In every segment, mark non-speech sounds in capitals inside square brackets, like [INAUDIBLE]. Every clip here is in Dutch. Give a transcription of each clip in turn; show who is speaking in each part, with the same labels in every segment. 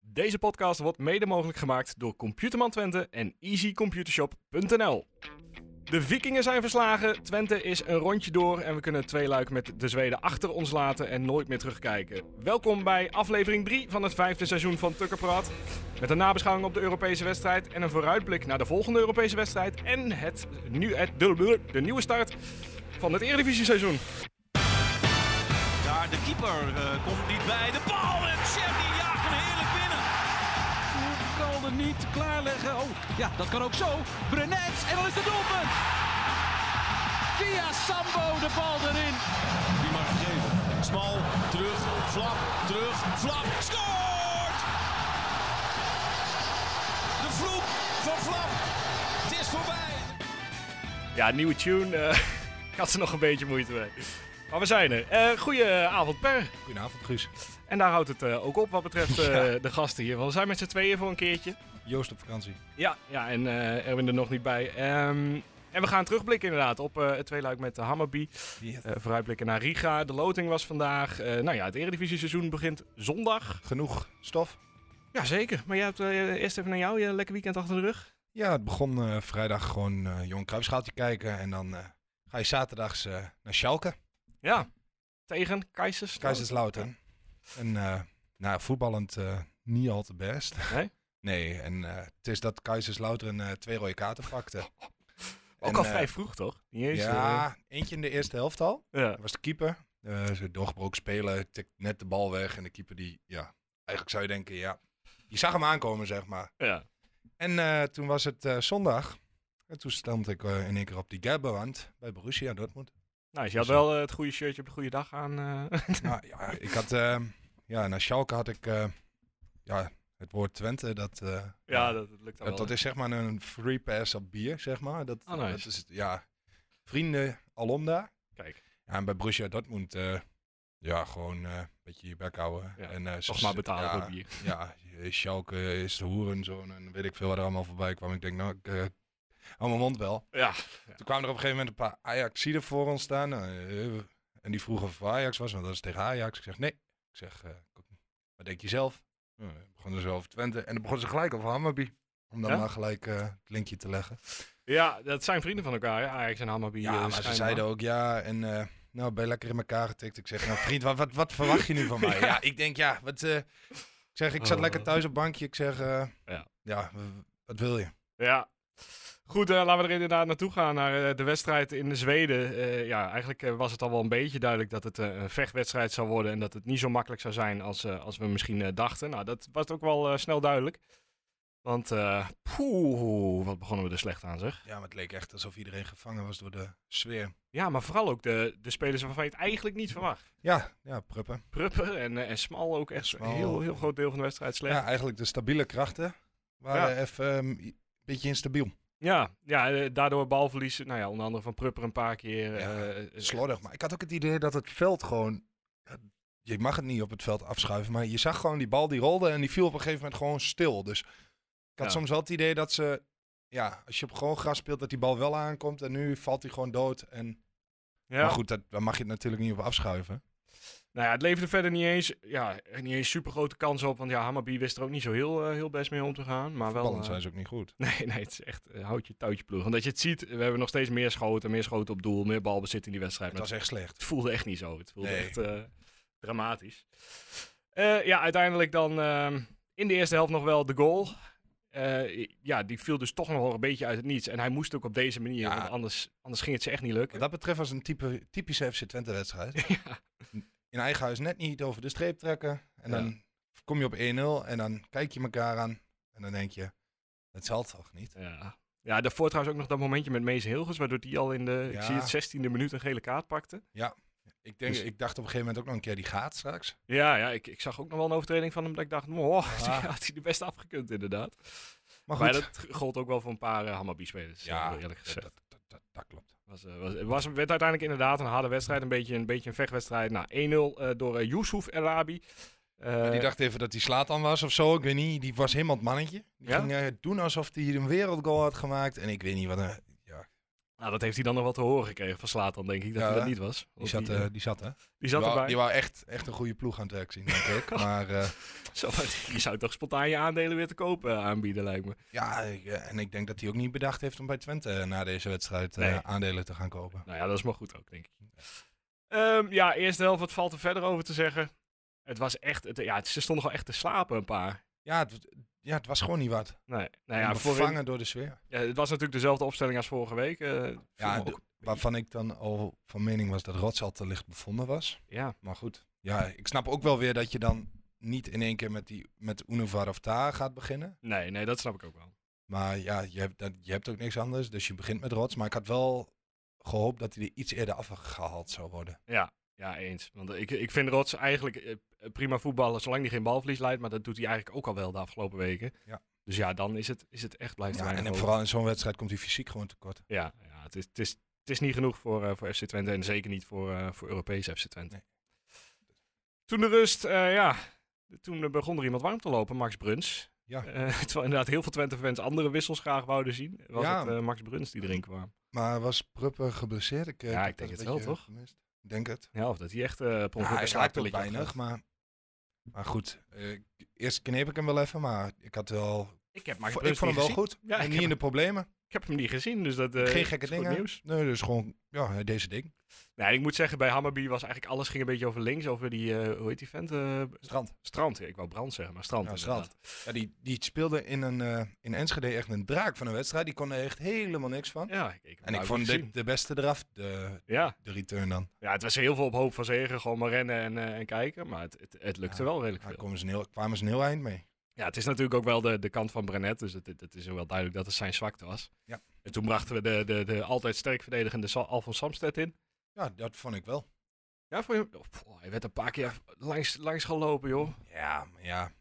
Speaker 1: Deze podcast wordt mede mogelijk gemaakt door Computerman Twente en easycomputershop.nl. De Vikingen zijn verslagen, Twente is een rondje door en we kunnen twee luik met de Zweden achter ons laten en nooit meer terugkijken. Welkom bij aflevering 3 van het vijfde seizoen van Tukkerpraat. Met een nabeschouwing op de Europese wedstrijd en een vooruitblik naar de volgende Europese wedstrijd en het, nu, het, de, de nieuwe start van het Eredivisie seizoen.
Speaker 2: Daar de keeper eh, komt niet bij. De bal en Chef die jaagt hem heerlijk binnen.
Speaker 3: Hoe kan het niet klaarleggen? Oh, ja, dat kan ook zo. Brenets en dan is het doelpunt. Via Sambo de bal erin.
Speaker 2: Die mag geven. Smal, terug, flap, terug, flap. Scoort! De vloek van flap. Het is voorbij.
Speaker 1: Ja, nieuwe tune. eh, [LAUGHS] ik had er nog een beetje moeite mee. Maar we zijn er. Eh goedenavond, Per.
Speaker 4: Goedenavond, Guus.
Speaker 1: En daar houdt het eh, ook op wat [LAUGHS] betreft eh, de gasten hier. Want we zijn met z'n tweeën voor een keertje.
Speaker 4: Joost op vakantie.
Speaker 1: Ja, ja en eh, Erwin er nog niet bij. Ehm, en we gaan terugblikken inderdaad op eh, het tweeluik met de Hammerby. Eh, vooruitblikken naar Riga. De loting was vandaag. Eh, nou ja, het Eredivisie seizoen begint zondag.
Speaker 4: Genoeg stof.
Speaker 1: Jazeker. Maar jij hebt eh, eerst even naar jou. Je lekker weekend achter de rug.
Speaker 4: Ja, het begon eh, vrijdag gewoon eh Jong Kruisschaaltje kijken. En dan eh, ga je zaterdags eh, naar
Speaker 1: Oh,
Speaker 4: Schalke,
Speaker 1: Ja. Tegen Keizers.
Speaker 4: Kaiserslautern. En eh, nou, voetballend eh, niet al te best.
Speaker 1: Nee?
Speaker 4: [LAUGHS] Nee, en eh, het is dat Kaiserslautern eh, twee rode kaarten pakte.
Speaker 1: [LAUGHS] Nou, Ook
Speaker 4: En,
Speaker 1: al
Speaker 4: eh,
Speaker 1: vrij vroeg, toch? Niet eens,
Speaker 4: Ja, eentje in de eerste helft al.
Speaker 1: eh, ja.
Speaker 4: Dat was de keeper. Eh, ze doorgebroken spelen, tikt net de bal weg. En de keeper die, ja, eigenlijk zou je denken, ja, je zag hem aankomen, zeg maar.
Speaker 1: Ja.
Speaker 4: En eh, toen was het eh, zondag. En toen stond ik eh, in één keer op die Gerberwand bij Borussia Dortmund.
Speaker 1: Nou, je had
Speaker 4: Zo.
Speaker 1: wel eh, het goede shirtje op de goede dag aan. eh. [LAUGHS]
Speaker 4: nou ja, ik had, eh, ja, naar Schalke had ik, eh, ja, het woord Twente, dat, eh,
Speaker 1: ja, dat, dat lukt dan
Speaker 4: dat,
Speaker 1: wel.
Speaker 4: dat is zeg maar een free pass op bier, zeg maar. Dat,
Speaker 1: Oh, nice.
Speaker 4: dat is, ja, vrienden alom daar.
Speaker 1: Kijk,
Speaker 4: Ja, en bij Borussia Dortmund, eh, ja, gewoon eh, een beetje je bek houden.
Speaker 1: Ja,
Speaker 4: en, eh, ze-
Speaker 1: toch maar betalen
Speaker 4: ja,
Speaker 1: voor bier.
Speaker 4: Ja, eh, Schalke is de hoerenzoon en weet ik veel wat er allemaal voorbij kwam. Ik denk, nou, ik eh, hou mijn mond wel.
Speaker 1: Ja.
Speaker 4: Toen kwamen er op een gegeven moment een paar Ajaxiden voor ons staan. eh, en die vroegen of het voor Ajax was, want dat is tegen Ajax. Ik zeg, nee. Ik zeg, eh, wat denk je zelf? Eh, begonnen ze over Twente. En dan begonnen ze gelijk over Hammerby. Om dan
Speaker 1: Ja?
Speaker 4: maar gelijk eh, het linkje te leggen.
Speaker 1: ja, dat zijn vrienden van elkaar, hè, Ajax en Hammerby. eh,
Speaker 4: Ja, maar ze
Speaker 1: schijnbaar.
Speaker 4: zeiden ook ja. En eh, nou, ben je lekker in elkaar getikt. Ik zeg, nou vriend, wat, wat, wat verwacht je nu van mij?
Speaker 1: Ja.
Speaker 4: [LAUGHS] Ja, ik denk, ja, wat... eh, ik zeg, ik zat
Speaker 1: Oh.
Speaker 4: lekker thuis op bankje. Ik zeg, eh,
Speaker 1: Ja.
Speaker 4: ja, w- wat wil je?
Speaker 1: Ja. Goed, eh, laten we er inderdaad naartoe gaan naar eh, de wedstrijd in de Zweden. Eh, ja, eigenlijk eh, was het al wel een beetje duidelijk dat het eh, een vechtwedstrijd zou worden. En dat het niet zo makkelijk zou zijn als, eh, als we misschien eh, dachten. Nou, dat was ook wel eh, snel duidelijk. Want, eh poeh, wat begonnen we er slecht aan, zeg.
Speaker 4: Ja, maar het leek echt alsof iedereen gevangen was door de sfeer.
Speaker 1: Ja, maar vooral ook de, de spelers waarvan je het eigenlijk niet verwacht.
Speaker 4: Ja, ja, pruppen.
Speaker 1: Prupper en, eh, en Smal ook echt
Speaker 4: Smal.
Speaker 1: een heel, heel groot deel van de wedstrijd slecht.
Speaker 4: Ja, eigenlijk de stabiele krachten waren even ehm, i- een beetje instabiel.
Speaker 1: Ja, ja, eh, daardoor balverlies, nou ja, onder andere van Prupper een paar keer.
Speaker 4: Ja,
Speaker 1: eh, eh,
Speaker 4: Slordig. Maar ik had ook het idee dat het veld gewoon... ja, Je mag het niet op het veld afschuiven, maar je zag gewoon die bal die rolde en die viel op een gegeven moment gewoon stil. Dus ik had
Speaker 1: Ja.
Speaker 4: soms wel het idee dat ze... Ja, als je op gewoon gras speelt, dat die bal wel aankomt en nu valt hij gewoon dood. En,
Speaker 1: ja.
Speaker 4: Maar goed, dat, daar mag je het natuurlijk niet op afschuiven.
Speaker 1: Nou ja, het leverde verder niet eens, ja, niet eens super grote kansen op. Want ja, Hammerby wist er ook niet zo heel, eh, heel best mee om te gaan. Maar wel.
Speaker 4: Ballen
Speaker 1: eh,
Speaker 4: zijn ze ook niet goed.
Speaker 1: [LAUGHS] nee, nee, het is echt eh, houd je touwtje ploeg. Want dat je het ziet, we hebben nog steeds meer schoten, meer schoten op doel, meer balbezit in die wedstrijd.
Speaker 4: Het
Speaker 1: Maar
Speaker 4: was echt slecht.
Speaker 1: het voelde echt niet zo. Het voelde
Speaker 4: Nee.
Speaker 1: echt eh, dramatisch. Eh, ja, uiteindelijk dan ehm, in de eerste helft nog wel de goal. Eh, ja, die viel dus toch nog wel een beetje uit het niets. En hij moest ook op deze manier,
Speaker 4: Ja.
Speaker 1: want anders, anders ging het ze echt niet lukken.
Speaker 4: Wat dat betreft was het een type, typische FC Twente [LAUGHS] wedstrijd.
Speaker 1: Ja.
Speaker 4: In eigen huis net niet over de streep trekken. En
Speaker 1: Ja.
Speaker 4: dan kom je op 1-0 en dan kijk je elkaar aan. En dan denk je, het zal toch niet?
Speaker 1: Ja. Ja, daarvoor trouwens ook nog dat momentje met Mees Hilgers, waardoor die al in de, ik
Speaker 4: Ja.
Speaker 1: zie het, 16e minuut een gele kaart pakte.
Speaker 4: Ik, denk,
Speaker 1: Dus-
Speaker 4: ik dacht op een gegeven moment ook nog een keer, die gaat straks.
Speaker 1: Ja, ja ik, ik zag ook nog wel een overtreding van hem dat ik dacht, wow, [LAUGHS] die
Speaker 4: Ah.
Speaker 1: had hij er best afgekund inderdaad.
Speaker 4: Maar goed,
Speaker 1: Maar dat gold ook wel voor een paar eh, Hammarby-spelers,
Speaker 4: Ja,
Speaker 1: ja, eerlijk gezegd.
Speaker 4: dat, dat, dat, dat klopt.
Speaker 1: Was, eh, was, het was, werd uiteindelijk inderdaad een harde wedstrijd, een beetje een, beetje een vechtwedstrijd. Nou, 1-0 eh, door eh, Youssouf El Arabi. Eh,
Speaker 4: die dacht even dat die slaat aan was of zo, ik weet niet. Die was helemaal het mannetje. Die
Speaker 1: Ja?
Speaker 4: eh, ging eh, doen alsof hij een wereldgoal had gemaakt. En ik weet niet wat een... Ja,
Speaker 1: Nou, dat heeft hij dan nog wat te horen gekregen van Slatan, denk ik, dat
Speaker 4: Ja,
Speaker 1: hij dat niet was.
Speaker 4: Die
Speaker 1: Want
Speaker 4: zat,
Speaker 1: die, eh,
Speaker 4: eh, die zat hè?
Speaker 1: die zat
Speaker 4: die, wou,
Speaker 1: erbij. [LAUGHS]
Speaker 4: die wou echt, echt een goede ploeg aan het werk zien, denk [LAUGHS] ik. Maar eh,
Speaker 1: Zo, je zou toch spontaan je aandelen weer te koop eh, aanbieden, lijkt me.
Speaker 4: ja, ik, eh, en ik denk dat hij ook niet bedacht heeft om bij Twente eh, na deze wedstrijd eh,
Speaker 1: Nee.
Speaker 4: aandelen te gaan kopen.
Speaker 1: Nou ja, dat is maar goed ook, denk ik. Ehm, ja, eerste helft, wat valt er verder over te zeggen? Het was echt, het, ja, ze stonden gewoon echt te slapen, een paar.
Speaker 4: Ja, het, ja, het was gewoon niet wat.
Speaker 1: Nee, nou
Speaker 4: Ja,
Speaker 1: ja, voorin,
Speaker 4: Vervangen door de sfeer.
Speaker 1: ja, het was natuurlijk dezelfde opstelling als vorige week. eh, viel
Speaker 4: Ja,
Speaker 1: me
Speaker 4: de-
Speaker 1: ook-
Speaker 4: waarvan ik dan al van mening was dat Rots al te licht bevonden was.
Speaker 1: ja,
Speaker 4: Maar goed, ja, ik snap ook wel weer dat je dan niet in één keer met, die, met Unovar of Ta gaat beginnen.
Speaker 1: nee, nee, dat snap ik ook wel.
Speaker 4: Maar ja, je hebt, dat, je hebt ook niks anders, dus je begint met Rots. Maar ik had wel gehoopt dat hij er iets eerder afgehaald zou worden.
Speaker 1: Ja, eens. Want ik, ik vind Rots eigenlijk eh, prima voetballen, zolang hij geen balverlies leidt. Maar dat doet hij eigenlijk ook al wel de afgelopen weken.
Speaker 4: Ja.
Speaker 1: Dus ja, dan is het, is het echt blijft er
Speaker 4: Ja, en
Speaker 1: weinig
Speaker 4: dan
Speaker 1: over.
Speaker 4: vooral in zo'n wedstrijd komt hij fysiek gewoon tekort.
Speaker 1: Ja, ja het, is, het, is, het is niet genoeg voor, eh, voor FC Twente en zeker niet voor, eh, voor Europees FC Twente.
Speaker 4: Nee.
Speaker 1: Toen de rust, eh, ja, toen eh, begon er iemand warm te lopen, Max Bruns.
Speaker 4: Ja.
Speaker 1: Eh, [LAUGHS] terwijl inderdaad heel veel Twente-fans andere wissels graag wouden zien, was
Speaker 4: Ja.
Speaker 1: het eh, Max Bruns die erin kwam.
Speaker 4: Maar was Pruppen geblesseerd? Ik, eh,
Speaker 1: Ja,
Speaker 4: heb
Speaker 1: ik denk
Speaker 4: dat
Speaker 1: het wel,
Speaker 4: een beetje
Speaker 1: toch?
Speaker 4: gemist. Ik denk het.
Speaker 1: Ja, of dat hij echt eh per ongeluk
Speaker 4: Ja,
Speaker 1: een
Speaker 4: hij raakt ook
Speaker 1: slaappilletje had
Speaker 4: weinig,
Speaker 1: gehad.
Speaker 4: maar, maar goed. eh, eerst kneep ik hem wel even, maar ik had wel...
Speaker 1: Ik heb Max
Speaker 4: ik
Speaker 1: Bruns
Speaker 4: vond hem
Speaker 1: niet
Speaker 4: wel
Speaker 1: gezien.
Speaker 4: goed.
Speaker 1: Ja,
Speaker 4: en
Speaker 1: ik
Speaker 4: niet
Speaker 1: heb-
Speaker 4: in de problemen.
Speaker 1: Ik heb hem niet gezien, dus dat eh,
Speaker 4: Geen gekke
Speaker 1: is goed
Speaker 4: dingen.
Speaker 1: nieuws.
Speaker 4: Nee, dus gewoon ja, deze ding.
Speaker 1: Nee, ik moet zeggen, bij Hammerby was eigenlijk alles ging een beetje over links, over die, eh, hoe heet die vent? Eh,
Speaker 4: Strand.
Speaker 1: strand, ik wou brand zeggen, maar strand
Speaker 4: Ja,
Speaker 1: inderdaad.
Speaker 4: Ja, die, die speelde in, een, eh, in Enschede echt een draak van een wedstrijd. Die kon er echt helemaal niks van.
Speaker 1: Ja, ik, ik,
Speaker 4: en
Speaker 1: nou,
Speaker 4: ik vond
Speaker 1: heb
Speaker 4: dit
Speaker 1: gezien.
Speaker 4: de beste eraf, de,
Speaker 1: Ja.
Speaker 4: de return dan.
Speaker 1: Ja, het was heel veel op hoop van zegen. Gewoon maar rennen en, eh, en kijken. Maar het, het, het lukte
Speaker 4: Ja,
Speaker 1: wel redelijk
Speaker 4: Daar
Speaker 1: veel.
Speaker 4: kwamen ze een heel, kwamen ze een heel eind mee.
Speaker 1: Ja, het is natuurlijk ook wel de, de kant van Brenet. Dus het, het is wel duidelijk dat het zijn zwakte was.
Speaker 4: Ja.
Speaker 1: En toen brachten we de, de, de altijd sterk verdedigende Sa- Alfons Samsted in.
Speaker 4: Ja, dat vond ik wel.
Speaker 1: Ja, voor je, oh, pff, hij werd een paar keer langs, langs gelopen, joh.
Speaker 4: Ja, maar ja,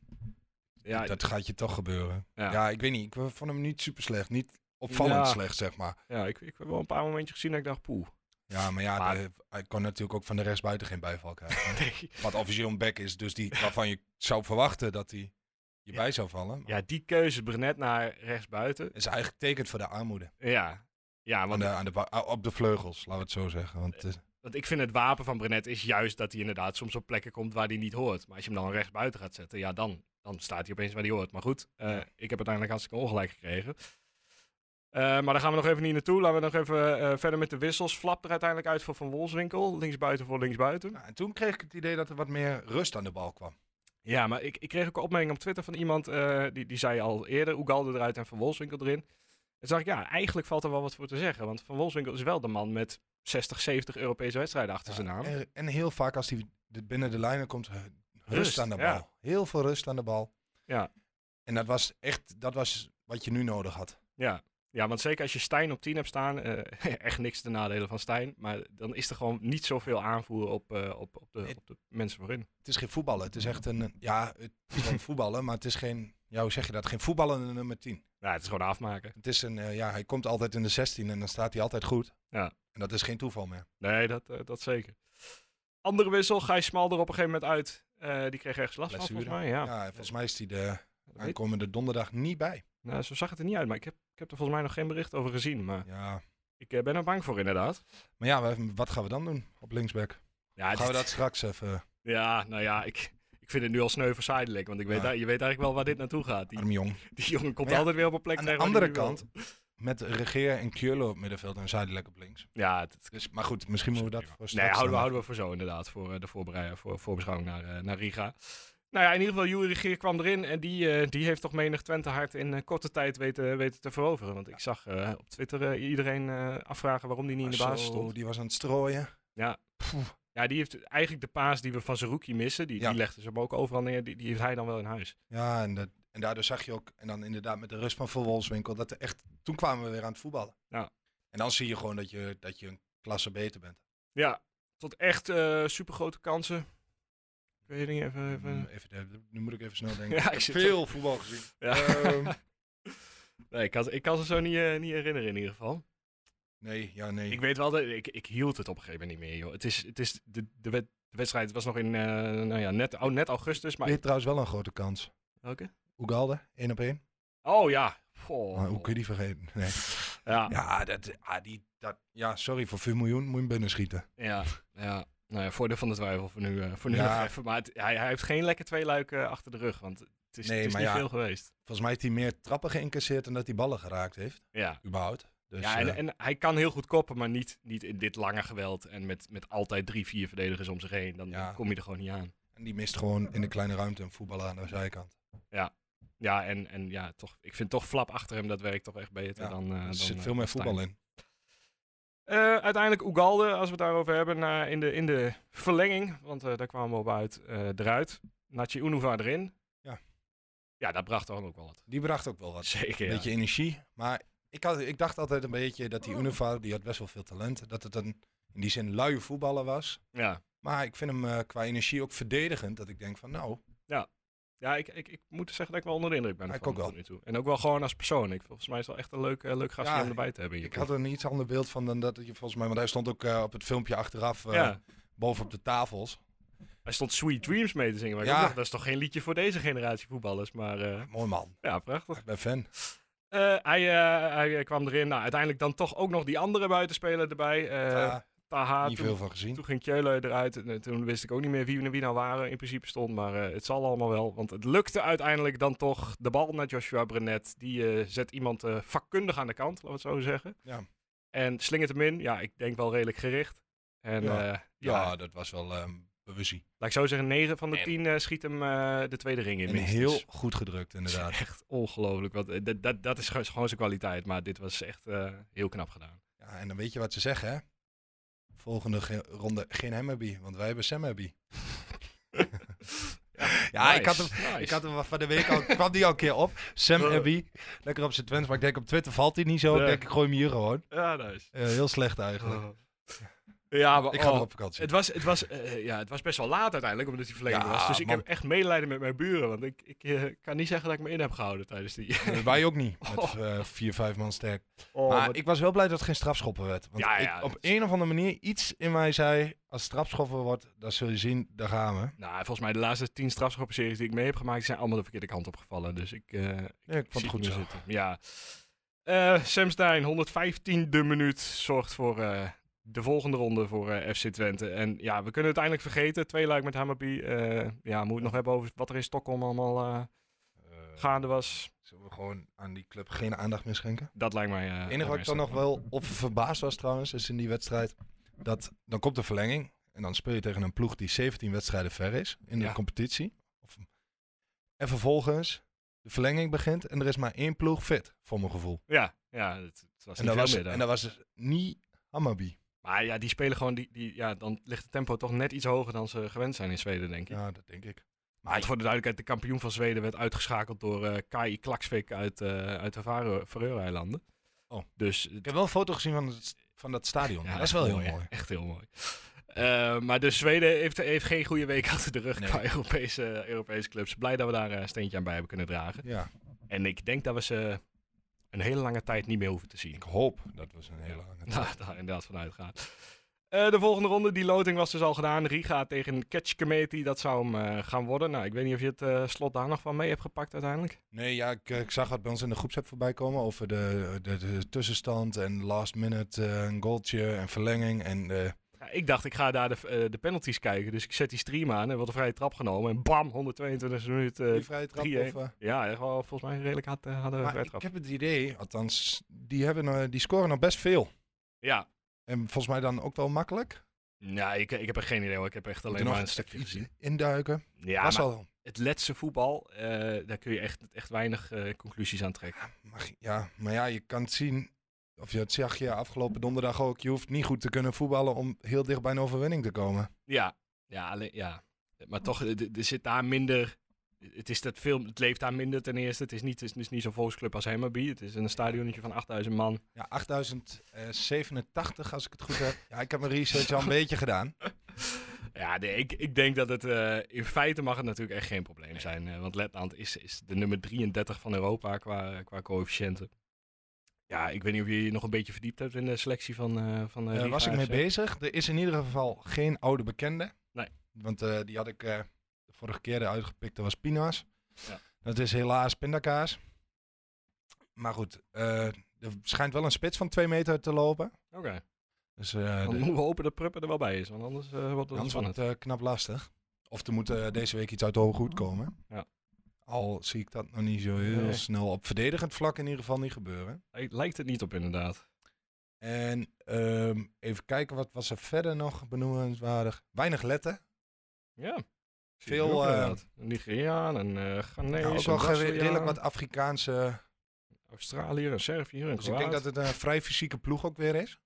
Speaker 1: Ja,
Speaker 4: dat gaat je toch gebeuren.
Speaker 1: Ja.
Speaker 4: Ja. ik weet niet. Ik vond hem niet super slecht. Niet opvallend
Speaker 1: Ja.
Speaker 4: slecht, zeg maar.
Speaker 1: ja ik, ik heb wel een paar momentjes gezien dat ik dacht, poeh.
Speaker 4: Ja, maar ja,
Speaker 1: Maar-
Speaker 4: de- hij kon natuurlijk ook van de rest buiten geen bijval krijgen. [LAUGHS]
Speaker 1: Nee.
Speaker 4: Wat officieel een back is, dus die, waarvan je zou verwachten dat hij je
Speaker 1: Ja.
Speaker 4: bij zou vallen.
Speaker 1: Ja, die keuze Brenet naar rechtsbuiten.
Speaker 4: is eigenlijk tekend voor de armoede.
Speaker 1: Ja. Ja,
Speaker 4: Aan
Speaker 1: want,
Speaker 4: de, aan de, ba- op de vleugels, laten we het zo zeggen. Want eh,
Speaker 1: want ik vind het wapen van Brenet is juist dat hij inderdaad soms op plekken komt waar hij niet hoort. Maar als je hem dan rechtsbuiten gaat zetten, ja, dan, dan staat hij opeens waar hij hoort. Maar goed, eh, ik heb uiteindelijk hartstikke ongelijk gekregen. Eh, maar daar gaan we nog even niet naartoe. Laten we nog even eh, verder met de wissels. Flap er uiteindelijk uit voor Van Wolfswinkel. Linksbuiten voor linksbuiten.
Speaker 4: nou, en toen kreeg ik het idee dat er wat meer rust aan de bal kwam.
Speaker 1: Ja, maar ik, ik kreeg ook een opmerking op Twitter van iemand. eh, die, die zei al eerder: Oegalde eruit en Van Wolfswinkel erin. En toen dacht ik, ja, eigenlijk valt er wel wat voor te zeggen. Want Van Wolfswinkel is wel de man met 60, 70 Europese wedstrijden achter zijn naam.
Speaker 4: En, en heel vaak als hij de- binnen de lijnen komt, eh, rust,
Speaker 1: Rust,
Speaker 4: aan de bal.
Speaker 1: ja.
Speaker 4: Heel veel rust aan de bal.
Speaker 1: Ja.
Speaker 4: En dat was echt dat was wat je nu nodig had.
Speaker 1: Ja. ja, want zeker als je Stijn op 10 hebt staan, eh, [LAUGHS] echt niks te nadelen van Stijn. Maar dan is er gewoon niet zoveel aanvoer op, eh, op, op, de,
Speaker 4: Nee.
Speaker 1: op de mensen voorin.
Speaker 4: Het is geen voetballen. Het is echt een, ja, het is
Speaker 1: [LAUGHS]
Speaker 4: gewoon voetballen, maar het is geen, ja, hoe zeg je dat? Geen voetballende nummer 10.
Speaker 1: Nou, het is gewoon afmaken.
Speaker 4: Het is een, eh, ja, hij komt altijd in de 16 en dan staat hij altijd goed.
Speaker 1: Ja.
Speaker 4: En dat is geen toeval meer.
Speaker 1: Nee, dat, eh, dat zeker. Andere wissel, Gijs Smal er op een gegeven moment uit. Eh, die kreeg ergens last van, volgens
Speaker 4: Blessure.
Speaker 1: mij. Ja.
Speaker 4: Ja, en volgens mij is hij de
Speaker 1: Dat weet-
Speaker 4: aankomende donderdag niet bij.
Speaker 1: nou, zo zag het er niet uit, maar ik heb, ik heb er volgens mij nog geen bericht over gezien. Maar
Speaker 4: Ja,
Speaker 1: ik eh, ben er bang voor, inderdaad.
Speaker 4: Maar ja, we- wat gaan we dan doen op linksback?
Speaker 1: Ja,
Speaker 4: gaan we
Speaker 1: dit-
Speaker 4: dat straks even...
Speaker 1: [LAUGHS] ja nou ja, ik, ik vind het nu al sneu voor Zijdelijk, want ik weet,
Speaker 4: Ja.
Speaker 1: a- je weet eigenlijk wel waar dit naartoe gaat. Die,
Speaker 4: Arm Jong.
Speaker 1: die jongen komt
Speaker 4: Maar ja,
Speaker 1: altijd weer op een plek
Speaker 4: Aan de
Speaker 1: terecht waar
Speaker 4: andere
Speaker 1: hij niet wil.
Speaker 4: kant, met Regeer en Kjurlo op middenveld en Zuidelijk op links.
Speaker 1: Ja, het,
Speaker 4: Dus, maar goed, misschien moeten we dat voor straks...
Speaker 1: Nee, houden we,
Speaker 4: dan-
Speaker 1: houden we voor zo inderdaad, voor eh, de voorbereiding, voor, voorbeschouwing naar, eh, naar Riga. Nou ja, in ieder geval, Juri Regeer kwam erin en die, eh, die heeft toch menig Twente hart in eh, korte tijd weten, weten te veroveren. Want ik zag eh, op Twitter eh, iedereen eh, afvragen waarom die niet in de basis
Speaker 4: Zo,
Speaker 1: stond.
Speaker 4: Die was aan het strooien.
Speaker 1: Ja, die heeft eigenlijk de paas die we van Zerouki missen, die,
Speaker 4: Ja.
Speaker 1: die legde ze hem ook overal neer, die, die heeft hij dan wel in huis.
Speaker 4: Ja, en, dat, en daardoor zag je ook... En dan inderdaad met de rust van Van Wolfswinkel, dat er echt... Toen kwamen we weer aan het voetballen.
Speaker 1: Ja.
Speaker 4: En dan zie je gewoon dat je, dat je een klasse beter bent.
Speaker 1: Ja, tot echt eh supergrote kansen. Ik weet niet, even...
Speaker 4: Mm,
Speaker 1: even...
Speaker 4: Even, de- nu moet ik even snel
Speaker 1: [LAUGHS]
Speaker 4: denken.
Speaker 1: Ja, ik
Speaker 4: ik
Speaker 1: zit
Speaker 4: heb veel voetbal gezien.
Speaker 1: Ja.
Speaker 4: Ehm,
Speaker 1: [LAUGHS] Nee, ik kan, ik kan ze zo niet, eh, niet herinneren in ieder geval.
Speaker 4: nee, ja, nee.
Speaker 1: Ik weet wel, dat ik, ik hield het op een gegeven moment niet meer, joh. Het is, het is de, de, wed- de wedstrijd was nog in, eh, nou ja, net, oh, net augustus, maar...
Speaker 4: Dit trouwens wel een grote kans.
Speaker 1: Welke?
Speaker 4: Oegalde, één op één.
Speaker 1: Oh ja. Goh. [LAUGHS]
Speaker 4: Maar hoe kun je die vergeten? [LAUGHS] Nee.
Speaker 1: Ja,
Speaker 4: Ja, dat, ah, die, dat, ja sorry, voor 4 miljoen moet je hem binnen schieten.
Speaker 1: ja, ja. Nou ja, voordeel van de twijfel voor nu, eh, voor nu
Speaker 4: Ja.
Speaker 1: nog even. Maar het- hij, hij heeft geen lekker twee luiken achter de rug, want het is,
Speaker 4: Nee,
Speaker 1: het is
Speaker 4: maar
Speaker 1: niet
Speaker 4: ja.
Speaker 1: veel geweest.
Speaker 4: Volgens mij heeft hij meer trappen geïncasseerd dan dat hij ballen geraakt heeft,
Speaker 1: Ja.
Speaker 4: überhaupt. Dus,
Speaker 1: ja, en,
Speaker 4: eh,
Speaker 1: en hij kan heel goed koppen, maar niet, niet in dit lange geweld en met, met altijd drie, vier verdedigers om zich heen. Dan
Speaker 4: Ja.
Speaker 1: dan kom je er gewoon niet aan.
Speaker 4: en die mist gewoon in de kleine ruimte een voetballer aan de zijkant.
Speaker 1: Ja, en, en ja, toch, ik vind toch flap achter hem, dat werkt toch echt beter
Speaker 4: Ja,
Speaker 1: dan, eh, dan...
Speaker 4: er zit
Speaker 1: eh,
Speaker 4: veel meer
Speaker 1: dan Stijn.
Speaker 4: voetbal in.
Speaker 1: Eh, uiteindelijk Ugalde, als we het daarover hebben, na- in, de, in de verlenging. Want eh, daar kwamen we op uit, eh, eruit. Nachi Unuva erin.
Speaker 4: Ja.
Speaker 1: Ja, dat bracht dan ook wel wat.
Speaker 4: Die bracht ook wel wat.
Speaker 1: Zeker,
Speaker 4: Een
Speaker 1: ja.
Speaker 4: beetje energie. Maar ik, had, ik dacht altijd een beetje dat die Univar, die had best wel veel talent. Dat het een, in die zin, luie voetballer was.
Speaker 1: Ja,
Speaker 4: Maar ik vind hem eh, qua energie ook verdedigend. Dat ik denk van, nou,
Speaker 1: ja ik, ik, ik moet zeggen dat ik wel onder de indruk ben
Speaker 4: Ja, ik
Speaker 1: van
Speaker 4: ook
Speaker 1: hem
Speaker 4: wel.
Speaker 1: tot nu toe. En ook wel gewoon als persoon. Ik, volgens mij is het wel echt een leuk, eh, leuk gastje
Speaker 4: Ja,
Speaker 1: om erbij te hebben. Hier.
Speaker 4: ik had er een iets ander beeld van dan dat je volgens mij... Want hij stond ook eh, op het filmpje achteraf eh,
Speaker 1: ja,
Speaker 4: boven op de tafels.
Speaker 1: hij stond Sweet Dreams mee te zingen. Maar ik
Speaker 4: Ja.
Speaker 1: dacht, dat is toch geen liedje voor deze generatie voetballers. Maar eh,
Speaker 4: Mooi man.
Speaker 1: ja, prachtig.
Speaker 4: Ik ben fan.
Speaker 1: Eh, hij, eh, hij eh, kwam erin. Nou, uiteindelijk dan toch ook nog die andere buitenspeler erbij. Eh
Speaker 4: Ja,
Speaker 1: Taha,
Speaker 4: niet
Speaker 1: toen-
Speaker 4: veel van gezien.
Speaker 1: Toen ging Keulen eruit en eh, toen wist ik ook niet meer wie, wie nou waren in principe stond. Maar eh, het zal allemaal wel. Want het lukte uiteindelijk dan toch de bal naar Joshua Brenet. Die eh, zet iemand eh, vakkundig aan de kant, laten we het zo zeggen.
Speaker 4: Ja.
Speaker 1: En slingert hem in. Ja, ik denk wel redelijk gericht. En
Speaker 4: Ja.
Speaker 1: eh, ja,
Speaker 4: ja, dat was wel ehm bewustzijn.
Speaker 1: laat ik zo zeggen, 9 van de
Speaker 4: En-
Speaker 1: 10 eh, schiet hem eh, de tweede ring in.
Speaker 4: En
Speaker 1: minstens. [LAUGHS]
Speaker 4: heel goed gedrukt,
Speaker 1: Dat is
Speaker 4: inderdaad.
Speaker 1: echt ongelooflijk. Want, eh, dat, dat, dat is gewoon gewoon zijn kwaliteit. Maar dit was echt eh, heel knap
Speaker 4: [LAUGHS]
Speaker 1: gedaan.
Speaker 4: Ja, en dan weet je wat ze zeggen, hè? Volgende ge- ronde geen Hammerby, want wij hebben Sam Hammerby. Ja, ik had hem- Ik had hem van de week al,
Speaker 1: [LAUGHS]
Speaker 4: kwam die al een keer op. Sam
Speaker 1: Eh.
Speaker 4: Abbey, lekker op zijn Twents, maar ik denk op Twitter valt hij niet zo. Ik
Speaker 1: Nee.
Speaker 4: denk ik gooi hem hier gewoon.
Speaker 1: Ja, nice. Oh.
Speaker 4: Eh, heel slecht eigenlijk.
Speaker 1: Ja, maar
Speaker 4: Ik ga
Speaker 1: oh,
Speaker 4: nog op vakantie.
Speaker 1: Het was, het, was, eh, ja, het was best wel laat uiteindelijk, omdat hij verlengd
Speaker 4: Ja,
Speaker 1: was. Dus ik
Speaker 4: man.
Speaker 1: heb echt medelijden met mijn buren. Want ik, ik eh, kan niet zeggen dat ik me in heb gehouden tijdens die. [LAUGHS]
Speaker 4: Eh, Wij ook niet, met
Speaker 1: Oh.
Speaker 4: eh, vier, vijf man sterk.
Speaker 1: Oh,
Speaker 4: maar
Speaker 1: wat-
Speaker 4: ik was wel blij dat het geen strafschoppen werd. Want
Speaker 1: Ja, ja,
Speaker 4: ik, op
Speaker 1: dat is-
Speaker 4: een of andere manier iets in mij zei, als het strafschoppen wordt, dan zul je zien, daar gaan we.
Speaker 1: Nou, volgens mij de laatste tien strafschoppenseries die ik mee heb gemaakt, die zijn allemaal de verkeerde kant opgevallen. Dus ik, eh,
Speaker 4: Ja, ik
Speaker 1: zie
Speaker 4: vond het goed
Speaker 1: niet
Speaker 4: zo.
Speaker 1: meer zitten. Ja. Eh, Sam Stein, 115e minuut, zorgt voor eh, de volgende ronde voor eh, FC Twente. En ja, we kunnen het eindelijk vergeten. Twee luik met Hammerby. Eh, ja, moeten we het nog hebben over wat er in Stockholm allemaal eh,
Speaker 4: Eh,
Speaker 1: gaande was.
Speaker 4: Zullen we gewoon aan die club geen aandacht meer schenken?
Speaker 1: Dat lijkt mij... eh,
Speaker 4: Het
Speaker 1: lijkt
Speaker 4: enige
Speaker 1: mij
Speaker 4: wat ik dan nog
Speaker 1: Stockholm.
Speaker 4: wel op verbaasd was trouwens, is in die wedstrijd dat dan komt de verlenging en dan speel je tegen een ploeg die 17 wedstrijden ver is in de
Speaker 1: Ja.
Speaker 4: competitie. Of- En vervolgens de verlenging begint en er is maar één ploeg fit, voor mijn gevoel.
Speaker 1: Ja, ja het, het was niet
Speaker 4: En dat
Speaker 1: veel
Speaker 4: was,
Speaker 1: meer dan.
Speaker 4: en dat was dus niet Hammarby.
Speaker 1: Maar ja, die spelen gewoon, die, die, ja, dan ligt het tempo toch net iets hoger dan ze gewend zijn in Zweden, denk ik.
Speaker 4: Ja, dat denk ik.
Speaker 1: maar voor de duidelijkheid, de kampioen van Zweden werd uitgeschakeld door eh Kai Klaksvik uit, eh uit de Vare- Faroe-eilanden.
Speaker 4: Oh.
Speaker 1: Dus
Speaker 4: Ik heb wel een foto gezien van, het, van dat stadion. dat is wel heel mooi.
Speaker 1: Echt heel mooi. Eh, maar dus Zweden heeft, heeft geen goede week [LAUGHS] achter de rug
Speaker 4: Nee.
Speaker 1: qua Europese, Europese clubs. Blij dat we daar eh, een steentje aan bij hebben kunnen dragen.
Speaker 4: Ja,
Speaker 1: En ik denk dat we ze een hele lange tijd niet meer hoeven te zien. [LAUGHS]
Speaker 4: ik hoop dat was een hele lange
Speaker 1: Nou, daar inderdaad van uitgaan. Eh, de volgende ronde, die loting was dus al gedaan. Riga tegen Ketchkemeti, dat zou hem eh, gaan worden. Nou, ik weet niet of je het eh, slot daar nog van mee hebt gepakt uiteindelijk.
Speaker 4: Nee, ja, ik, eh, ik zag wat bij ons in de groepsapp voorbij komen over de, de, de tussenstand en last minute eh, een goaltje en verlenging. En eh,
Speaker 1: Ja, ik dacht, ik ga daar de, eh, de penalties kijken. Dus ik zet die stream aan en wordt een vrije trap genomen. En bam, 122 minuten.
Speaker 4: die vrije trap. Of,
Speaker 1: 3-1.
Speaker 4: eh,
Speaker 1: ja, echt wel volgens mij redelijk hard eh, hadden we
Speaker 4: maar
Speaker 1: vrije
Speaker 4: ik
Speaker 1: trap.
Speaker 4: heb het idee, althans, die, hebben, eh, die scoren nog best veel.
Speaker 1: Ja,
Speaker 4: En volgens mij dan ook wel makkelijk.
Speaker 1: nou, ik, ik heb er geen idee hoor. Ik heb echt alleen
Speaker 4: nog
Speaker 1: maar een stukje
Speaker 4: iets
Speaker 1: gezien.
Speaker 4: induiken.
Speaker 1: Ja,
Speaker 4: Was
Speaker 1: maar
Speaker 4: al,
Speaker 1: het letse voetbal, eh, daar kun je echt, echt weinig eh, conclusies aan trekken.
Speaker 4: mag, ja, maar ja, je kan het zien. Of je het zag je afgelopen donderdag ook. Je hoeft niet goed te kunnen voetballen om heel dicht bij een overwinning te komen.
Speaker 1: Ja, ja, alleen, ja. Maar toch, er- er er zit daar minder. Het, is dat film, het leeft daar minder ten eerste. Het is niet, het is niet zo'n volksclub als Hammerby. Het is een stadionnetje van 8000 man.
Speaker 4: Ja, 8087 als ik het goed heb. Ja, ik heb mijn research al [LAUGHS] een beetje gedaan.
Speaker 1: Ja, nee, ik, ik denk dat het. eh, in feite mag het natuurlijk echt geen probleem zijn. eh, want Letland is, is de nummer 33 van Europa qua, qua coëfficiënten. Ja, ik weet niet of je je nog een beetje verdiept hebt in de selectie van. eh van eh,
Speaker 4: Daar
Speaker 1: Riga
Speaker 4: was ik mee
Speaker 1: FC.
Speaker 4: bezig. Er is in ieder geval geen oude bekende.
Speaker 1: Nee.
Speaker 4: Want eh, die had ik eh, de vorige keer eruit gepikt. Dat was Pina's.
Speaker 1: Ja.
Speaker 4: Dat is helaas pindakaas. Maar goed, eh, er schijnt wel een spits van twee meter te lopen.
Speaker 1: Oké.
Speaker 4: Dus eh,
Speaker 1: Dan
Speaker 4: de-
Speaker 1: moeten we hopen Oh, dat Pruppen er wel bij is, want anders eh, wordt het
Speaker 4: anders
Speaker 1: spannend.
Speaker 4: wordt het eh, knap lastig. Of er moet eh, deze week iets uit de hoge hoed komen.
Speaker 1: Oh. Ja.
Speaker 4: Al zie ik dat nog niet zo heel
Speaker 1: Nee.
Speaker 4: snel op verdedigend vlak in ieder geval niet gebeuren.
Speaker 1: Eh, Lijkt het niet op inderdaad.
Speaker 4: En ehm, even kijken, wat was er verder nog benoemenswaardig? Weinig letten.
Speaker 1: Ja. Zie
Speaker 4: Veel,
Speaker 1: ik ook
Speaker 4: eh,
Speaker 1: inderdaad. Nigeriaan en eh Ghanese,
Speaker 4: Ja, ook
Speaker 1: en
Speaker 4: wel ge-
Speaker 1: Braziliaan,
Speaker 4: redelijk wat Afrikaanse.
Speaker 1: Australiër en Serviër en
Speaker 4: Dus ik denk dat het een vrij fysieke ploeg ook weer is.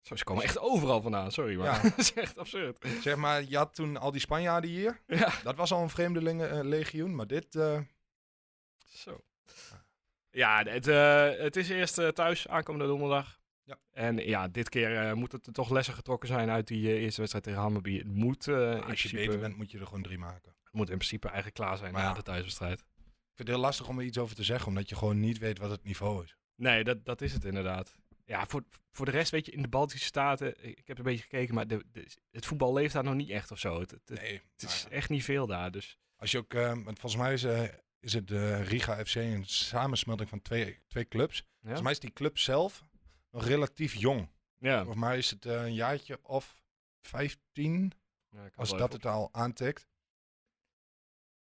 Speaker 1: Zo, ze komen echt overal vandaan, sorry maar.
Speaker 4: Ja.
Speaker 1: [LAUGHS] dat is echt absurd.
Speaker 4: Zeg maar, je had toen al die Spanjaarden hier.
Speaker 1: Ja,
Speaker 4: Dat was al een vreemdelingenlegioen, maar dit... eh,
Speaker 1: zo.
Speaker 4: Ah.
Speaker 1: Ja, het, eh, het is eerst eh, thuis, aankomende donderdag.
Speaker 4: Ja.
Speaker 1: En ja, dit keer eh, moet het er toch lessen getrokken zijn uit die eh, eerste wedstrijd tegen Hammerby. Het moet, eh, in
Speaker 4: Nou, als je
Speaker 1: principe,
Speaker 4: beter bent, moet je er gewoon drie maken.
Speaker 1: het moet in principe eigenlijk klaar zijn
Speaker 4: Maar
Speaker 1: na
Speaker 4: ja.
Speaker 1: de thuiswedstrijd.
Speaker 4: Ik vind het heel lastig om er iets over te zeggen, omdat je gewoon niet weet wat het niveau is.
Speaker 1: Nee, dat, dat is het inderdaad. Ja, voor, voor de rest weet je, in de Baltische Staten, eh, ik heb een beetje gekeken, maar de, de- het voetbal leeft daar nog niet echt of zo. Het, het,
Speaker 4: Nee.
Speaker 1: het
Speaker 4: nou
Speaker 1: is
Speaker 4: ja.
Speaker 1: echt niet veel daar, dus
Speaker 4: Als je ook, eh, want volgens mij is, eh, is het eh, Riga FC een samensmelting van twee, twee clubs.
Speaker 1: ja.
Speaker 4: Volgens mij is die club zelf nog relatief jong.
Speaker 1: ja.
Speaker 4: Volgens mij is het eh, een jaartje of 15,
Speaker 1: Ja, ik had
Speaker 4: als
Speaker 1: wel
Speaker 4: dat
Speaker 1: even
Speaker 4: het al aantikt.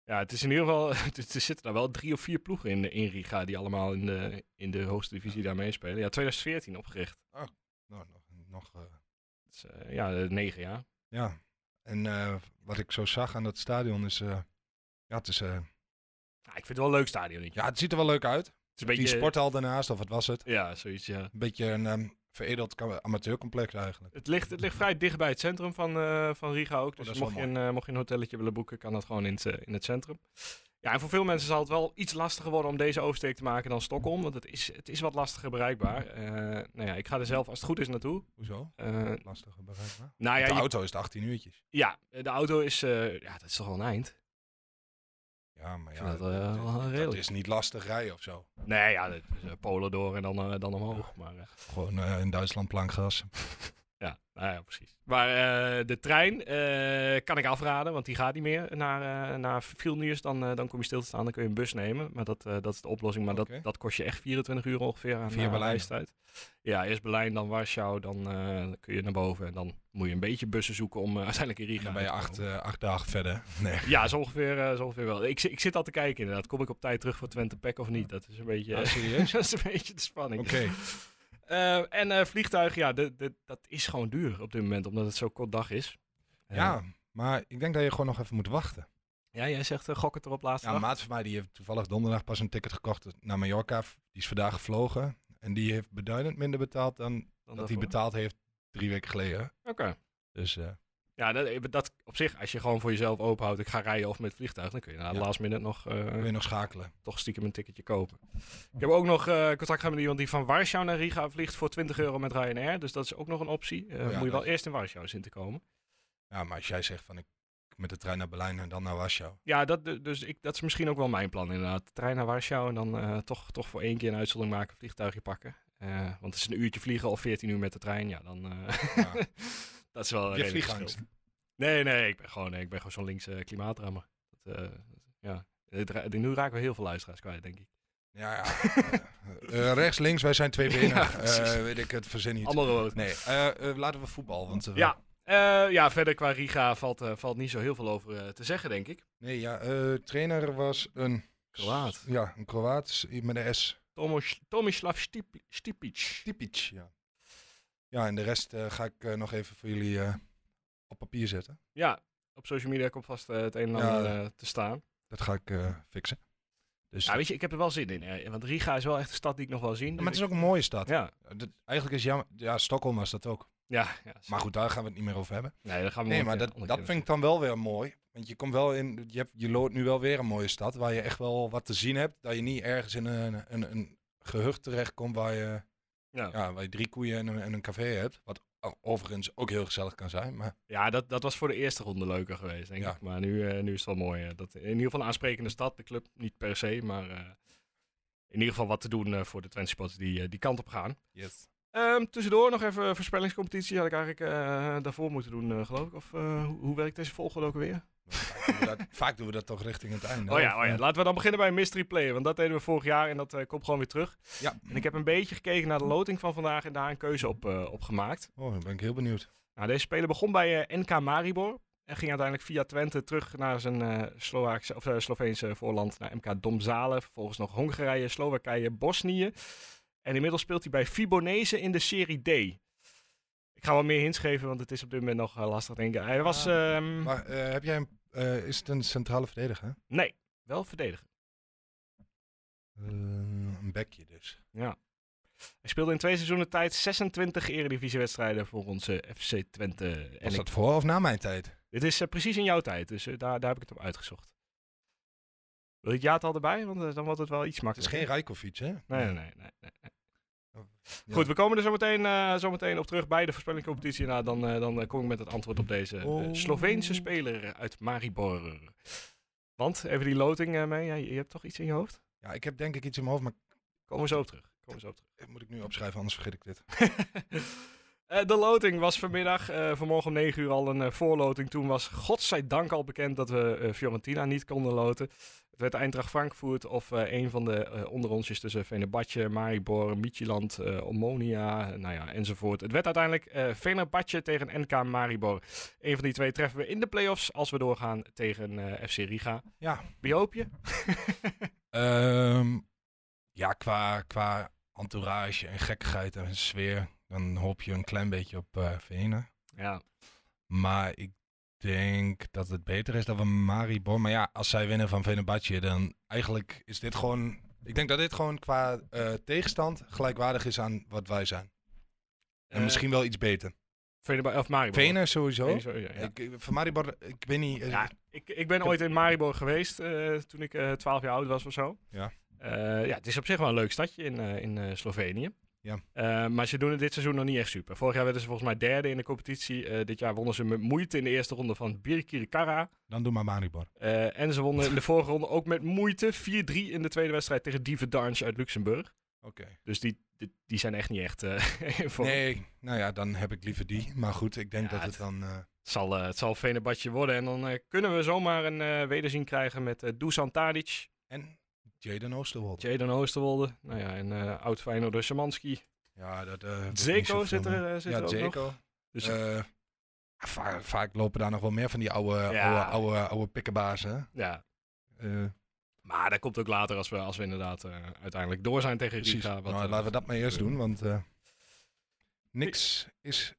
Speaker 1: Ja, het is in ieder geval. [LAUGHS] het is- Er zitten daar wel drie of vier ploegen in, in Riga die allemaal in de, in de hoogste divisie daar meespelen. Ja, 2014 opgericht.
Speaker 4: Nou, nog, nog eh,
Speaker 1: Dat is, eh, ja, eh, negen jaar.
Speaker 4: Ja, en eh, wat ik zo zag aan dat stadion is. eh, ja, het is, eh,
Speaker 1: Ja, ik vind het wel een leuk stadion. Het
Speaker 4: ja, het ziet er wel leuk uit.
Speaker 1: is een beetje.
Speaker 4: Die sporthal daarnaast, of wat was het?
Speaker 1: Ja, zoiets. Ja.
Speaker 4: Een beetje een ehm, veredeld ka- amateurcomplex eigenlijk.
Speaker 1: Het, ligt, het ligt vrij dicht bij het centrum van, eh, van Riga ook. Dus
Speaker 4: dat is
Speaker 1: mocht, je
Speaker 4: wel
Speaker 1: een, eh, mocht je een hotelletje willen boeken, kan dat gewoon in het, eh, in het centrum. Ja, en voor veel mensen zal het wel iets lastiger worden om deze oversteek te maken dan Stockholm. Want het is, het is wat lastiger bereikbaar. Eh, nou ja, ik ga er zelf als het goed is naartoe.
Speaker 4: Hoezo?
Speaker 1: Eh,
Speaker 4: Lastig bereikbaar.
Speaker 1: nou ja,
Speaker 4: de
Speaker 1: je-
Speaker 4: auto is het 18 uurtjes.
Speaker 1: ja, de auto is... eh, ja, dat is toch wel een eind.
Speaker 4: Ja, maar
Speaker 1: Ik
Speaker 4: ja,
Speaker 1: vind dat, eh, wel redelijk.
Speaker 4: is niet lastig rijden of zo.
Speaker 1: Nee, ja, dat is, eh, Polen door en dan, eh, dan omhoog. Maar, eh,
Speaker 4: Gewoon eh, in Duitsland plankgas.
Speaker 1: ja, nou ja, precies. Maar eh, de trein eh, kan ik afraden, want die gaat niet meer naar, eh, naar Vilnius. Dan, eh, dan kom je stil te staan, dan kun je een bus nemen. Maar dat, eh, dat is de oplossing. Maar
Speaker 4: Oké.
Speaker 1: dat, dat kost je echt 24 uur ongeveer aan,
Speaker 4: Via
Speaker 1: eh, aan
Speaker 4: Berlijn.
Speaker 1: reistijd. Ja, eerst Berlijn, dan Warschau, dan eh, kun je naar boven. En dan moet je een beetje bussen zoeken om eh, uiteindelijk in
Speaker 4: En
Speaker 1: Riga
Speaker 4: dan ben je
Speaker 1: uit te
Speaker 4: acht,
Speaker 1: komen.
Speaker 4: eh, acht dagen verder. [LAUGHS] Nee.
Speaker 1: Ja, zo ongeveer, eh, zo ongeveer wel. Ik, zi- ik zit al te kijken inderdaad. Kom ik op tijd terug voor Twente Pack of niet? Dat is een beetje, eh,
Speaker 4: Ah,
Speaker 1: [LAUGHS]
Speaker 4: serieus?
Speaker 1: dat is een beetje de spanning.
Speaker 4: Oké.
Speaker 1: Eh, en eh vliegtuig, ja, de, de, dat is gewoon duur op dit moment, omdat het zo kort dag is. Eh,
Speaker 4: Ja, maar ik denk dat je gewoon nog even moet wachten.
Speaker 1: ja, jij zegt eh gok het erop laatste
Speaker 4: Ja, een
Speaker 1: dag.
Speaker 4: maat van mij die heeft toevallig donderdag pas een ticket gekocht naar Mallorca. Die is vandaag gevlogen. En die heeft beduidend minder betaald dan
Speaker 1: Dan
Speaker 4: dat hij
Speaker 1: daarvoor.
Speaker 4: betaald heeft drie weken geleden.
Speaker 1: Oké.
Speaker 4: Dus eh,
Speaker 1: Ja, dat, dat op zich, als je gewoon voor jezelf openhoudt, ik ga rijden of met vliegtuig, dan kun je na de
Speaker 4: Ja.
Speaker 1: last minute nog, eh,
Speaker 4: kun je nog schakelen.
Speaker 1: toch stiekem een ticketje kopen. Ik heb ook nog eh, contact gehad met iemand die van Warschau naar Riga vliegt voor 20 euro met Ryanair. Dus dat is ook nog een optie. Eh,
Speaker 4: Oh ja,
Speaker 1: moet je wel
Speaker 4: dat-
Speaker 1: eerst in Warschau zien te komen.
Speaker 4: Ja, maar als jij zegt van ik met de trein naar Berlijn en dan naar Warschau.
Speaker 1: Ja, dat, dus ik, dat is misschien ook wel mijn plan inderdaad. Trein naar Warschau en dan eh, toch, toch voor één keer een uitzondering maken, vliegtuigje pakken. Eh, want het is een uurtje vliegen of 14 uur met de trein. Ja, dan. eh,
Speaker 4: Ja.
Speaker 1: [LAUGHS] dat is wel. een
Speaker 4: je
Speaker 1: redelijk
Speaker 4: vliegangst.
Speaker 1: verschil. Nee, nee, ik ben gewoon, nee, ik ben gewoon zo'n linkse eh, klimaatrammer. Dat, eh, ja. Dit ra- nu raken we heel veel luisteraars kwijt, denk ik. [LAUGHS]
Speaker 4: Ja, ja. Eh, eh, rechts, links, wij zijn twee benen.
Speaker 1: Ja, precies.
Speaker 4: Eh, weet ik het, verzin niet.
Speaker 1: Allemaal rood.
Speaker 4: Nee, eh, eh, laten we voetbal. Want, eh,
Speaker 1: Ja. Eh, ja, verder qua Riga valt, eh, valt niet zo heel veel over eh, te zeggen, denk ik.
Speaker 4: Nee, ja, eh, trainer was een...
Speaker 1: Kroaat.
Speaker 4: Ja, een Kroaat met een S.
Speaker 1: Tomos- Tomislav Stip- Stipic.
Speaker 4: Stipic, ja. Ja, en de rest eh, ga ik eh, nog even voor jullie eh, op papier zetten.
Speaker 1: Ja, op social media komt vast eh, het een en
Speaker 4: Ja.
Speaker 1: ander eh, te staan.
Speaker 4: Dat ga ik eh, fixen. Dus,
Speaker 1: Ja, weet je, ik heb er wel zin in. hè. Want Riga is wel echt een stad die ik nog wel zien.
Speaker 4: maar het is ook een mooie stad. Eh,
Speaker 1: Ja,
Speaker 4: Dat- eigenlijk is jammer... Ja, Stockholm was dat ook.
Speaker 1: ja, ja.
Speaker 4: Maar goed, daar gaan we het niet meer over hebben.
Speaker 1: nee, daar gaan we
Speaker 4: Nee,
Speaker 1: nog
Speaker 4: maar
Speaker 1: een
Speaker 4: dat,
Speaker 1: andere
Speaker 4: dat
Speaker 1: keer
Speaker 4: vind ik dan wel weer mooi. Want je komt wel in, je, hebt, je loopt nu wel weer een mooie stad waar je echt wel wat te zien hebt. Dat je niet ergens in een, een, een gehucht terechtkomt waar je,
Speaker 1: Ja.
Speaker 4: ja, waar je drie koeien en een, en een café hebt. Wat o- overigens ook heel gezellig kan zijn. Maar
Speaker 1: Ja, dat, dat was voor de eerste ronde leuker geweest, denk
Speaker 4: Ja.
Speaker 1: ik. Maar nu, eh, nu is het wel mooi. eh, dat, in ieder geval een aansprekende stad. De club niet per se, maar eh, in ieder geval wat te doen eh, voor de Twente supporters die eh, die kant op gaan.
Speaker 4: yes.
Speaker 1: Ehm, tussendoor nog even een voorspellingscompetitie. Had ik eigenlijk eh, daarvoor moeten doen, eh, geloof ik. Of eh, hoe, hoe werkt deze volgorde ook weer?
Speaker 4: Vaak doen we [LAUGHS] dat- Vaak doen we dat toch richting het einde.
Speaker 1: Oh ja,
Speaker 4: of,
Speaker 1: oh ja,
Speaker 4: eh,
Speaker 1: laten we dan beginnen bij een mystery player. Want dat deden we vorig jaar en dat eh, komt gewoon weer terug.
Speaker 4: Ja.
Speaker 1: En ik heb een beetje gekeken naar de loting van vandaag en daar een keuze op, eh, op gemaakt.
Speaker 4: Oh, dan ben ik heel benieuwd.
Speaker 1: Nou, deze speler begon bij eh, NK Maribor. En ging uiteindelijk via Twente terug naar zijn eh, Slovaakse, of, eh, Sloveense voorland, naar MK Domzale. Vervolgens nog Hongarije, Slowakije, Bosnië. En inmiddels speelt hij bij Fibonese in de Serie D. Ik ga wel meer hints geven, want het is op dit moment nog eh, lastig, denk ik. Hij was... ehm,
Speaker 4: Maar eh, heb jij een, eh, is het een centrale verdediger?
Speaker 1: Nee, wel verdediger.
Speaker 4: Eh, een bekje dus.
Speaker 1: Hij speelde in twee seizoenen tijd 26 eredivisiewedstrijden voor onze FC Twente. En
Speaker 4: Was
Speaker 1: ik-
Speaker 4: dat voor of na mijn tijd?
Speaker 1: dit is eh, precies in jouw tijd, dus eh, daar, daar heb ik het op uitgezocht. Wil je het jaartal erbij? Want eh, dan wordt het wel iets
Speaker 4: Het is
Speaker 1: makkelijker.
Speaker 4: geen Rijkovic, hè?
Speaker 1: Nee, nee, nee. nee, nee.
Speaker 4: Ja.
Speaker 1: Goed, we komen er zo meteen, eh, zo meteen op terug bij de voorspellingcompetitie. Nou, dan, eh, dan eh, kom ik met het antwoord op deze eh,
Speaker 4: Oh.
Speaker 1: Sloveense speler uit Maribor. Want, even die loting eh, mee. Ja, je je hebt toch iets in je hoofd?
Speaker 4: Ja, ik heb denk ik iets in mijn hoofd, maar
Speaker 1: Komen we zo op terug. Komen we zo op terug.
Speaker 4: eh, moet ik nu opschrijven, anders vergeet ik dit.
Speaker 1: [LAUGHS] Eh, de loting was vanmiddag, eh, vanmorgen om 9 uur al een eh, voorloting. Toen was godzijdank al bekend dat we eh, Fiorentina niet konden loten. Het werd Eindracht Frankfurt of eh, een van de eh onderonsjes tussen Venerbahce, Maribor, Midtjylland, eh Omonia, eh, nou ja, enzovoort. Het werd uiteindelijk eh Venerbahce tegen NK Maribor. Een van die twee treffen we in de play-offs als we doorgaan tegen eh, FC Riga.
Speaker 4: Ja.
Speaker 1: Wie hoop je? [LAUGHS]
Speaker 4: Ehm, ja, qua, qua entourage en gekkigheid en sfeer, dan hoop je een klein beetje op eh Venen.
Speaker 1: Ja,
Speaker 4: Maar ik denk dat het beter is dat we Maribor... Maar ja, als zij winnen van Venebadje, dan eigenlijk is dit gewoon... Ik denk dat dit gewoon qua eh, tegenstand gelijkwaardig is aan wat wij zijn. En
Speaker 1: Eh,
Speaker 4: misschien wel iets beter.
Speaker 1: Venerba- Eh, of Maribor.
Speaker 4: Venen sowieso.
Speaker 1: Venen, sorry, ja.
Speaker 4: Ik, eh, van Maribor, ik weet niet... eh,
Speaker 1: Ja, ik, ik ben ooit in Maribor geweest eh, toen ik eh 12 jaar oud was of zo.
Speaker 4: Ja.
Speaker 1: Eh, ja, het is op zich wel een leuk stadje in, eh, in eh, Slovenië.
Speaker 4: Ja.
Speaker 1: Eh, maar ze doen het dit seizoen nog niet echt super. Vorig jaar werden ze volgens mij derde in de competitie. Eh, dit jaar wonnen ze met moeite in de eerste ronde van Birkirikara.
Speaker 4: Dan doe maar Maribor.
Speaker 1: Eh, en ze wonnen
Speaker 4: [LAUGHS]
Speaker 1: in de vorige ronde ook met moeite 4-3 in de tweede wedstrijd tegen Dieven Darns uit Luxemburg.
Speaker 4: Oké.
Speaker 1: Dus die, die, die zijn echt niet echt eh [LAUGHS] in vorm.
Speaker 4: Nee, nou ja, dan heb ik liever die. Maar goed, ik denk
Speaker 1: Ja,
Speaker 4: dat het
Speaker 1: het-
Speaker 4: dan... eh,
Speaker 1: Het zal, eh het zal Venebadje worden. En dan eh, kunnen we zomaar een eh, wederzien krijgen met eh Dusan Tadic.
Speaker 4: En Jaden Oosterwold.
Speaker 1: Jaden Oosterwolde. Nou ja, en eh oud Feyenoord Szymanski.
Speaker 4: ja, dat... eh, wordt niet
Speaker 1: Zeko
Speaker 4: zoveel
Speaker 1: zit er,
Speaker 4: meer.
Speaker 1: eh, zit
Speaker 4: ja,
Speaker 1: er ook nog.
Speaker 4: Zeko.
Speaker 1: Dus-
Speaker 4: Eh, va- vaak lopen daar nog wel meer van die oude,
Speaker 1: Ja.
Speaker 4: oude, oude, oude Eh, pikkenbazen.
Speaker 1: Ja.
Speaker 4: Uh,
Speaker 1: Maar dat komt ook later als we, als we inderdaad eh, uiteindelijk door zijn tegen
Speaker 4: precies.
Speaker 1: Riga. Wat,
Speaker 4: nou,
Speaker 1: eh,
Speaker 4: laten we dat maar eerst doen, want eh, niks is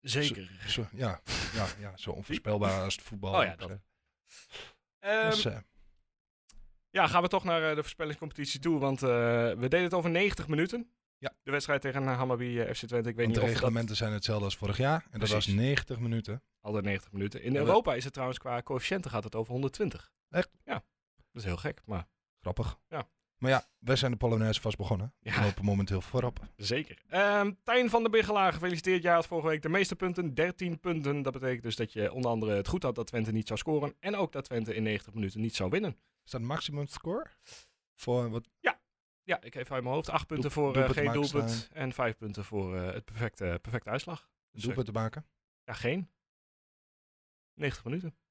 Speaker 1: Zeker.
Speaker 4: zo, ja, ja, ja, zo onvoorspelbaar als het voetbal.
Speaker 1: Oh ja, dat. Ehm,
Speaker 4: Dus, eh,
Speaker 1: ja, gaan we toch naar eh, de voorspellingscompetitie toe. Want eh, we deden het over 90 minuten.
Speaker 4: Ja.
Speaker 1: de wedstrijd tegen eh, Hammarby eh, FC Twente. Ik weet
Speaker 4: want
Speaker 1: niet
Speaker 4: de
Speaker 1: of we
Speaker 4: reglementen zijn hetzelfde als vorig jaar. En dat was
Speaker 1: Precies.
Speaker 4: 90 minuten.
Speaker 1: dat... Alle 90 minuten. In
Speaker 4: Ja, we-
Speaker 1: Europa is het trouwens qua coëfficiënten gaat het over 120.
Speaker 4: Echt?
Speaker 1: Ja. Dat is heel gek, maar
Speaker 4: Grappig.
Speaker 1: Ja.
Speaker 4: Maar ja, wij zijn de Polonaise vast begonnen.
Speaker 1: Ja.
Speaker 4: We lopen momenteel voorop.
Speaker 1: Zeker. Ehm, Tijn van der Biggelaar, gefeliciteerd. Jij had vorige week de meeste punten, 13 punten. Dat betekent dus dat je onder andere het goed had dat Twente niet zou scoren. En ook dat Twente in 90 minuten niet zou winnen.
Speaker 4: Is dat maximum score? Voor wat?
Speaker 1: Ja, ik geef uit mijn hoofd 8 punten
Speaker 4: Doel-
Speaker 1: voor eh,
Speaker 4: doelpunt
Speaker 1: geen
Speaker 4: maken
Speaker 1: doelpunt. En 5 punten voor eh, het perfecte, perfecte uitslag. Dus, eh,
Speaker 4: Doelpunt te maken?
Speaker 1: Ja, geen. 90 minuten. [LAUGHS]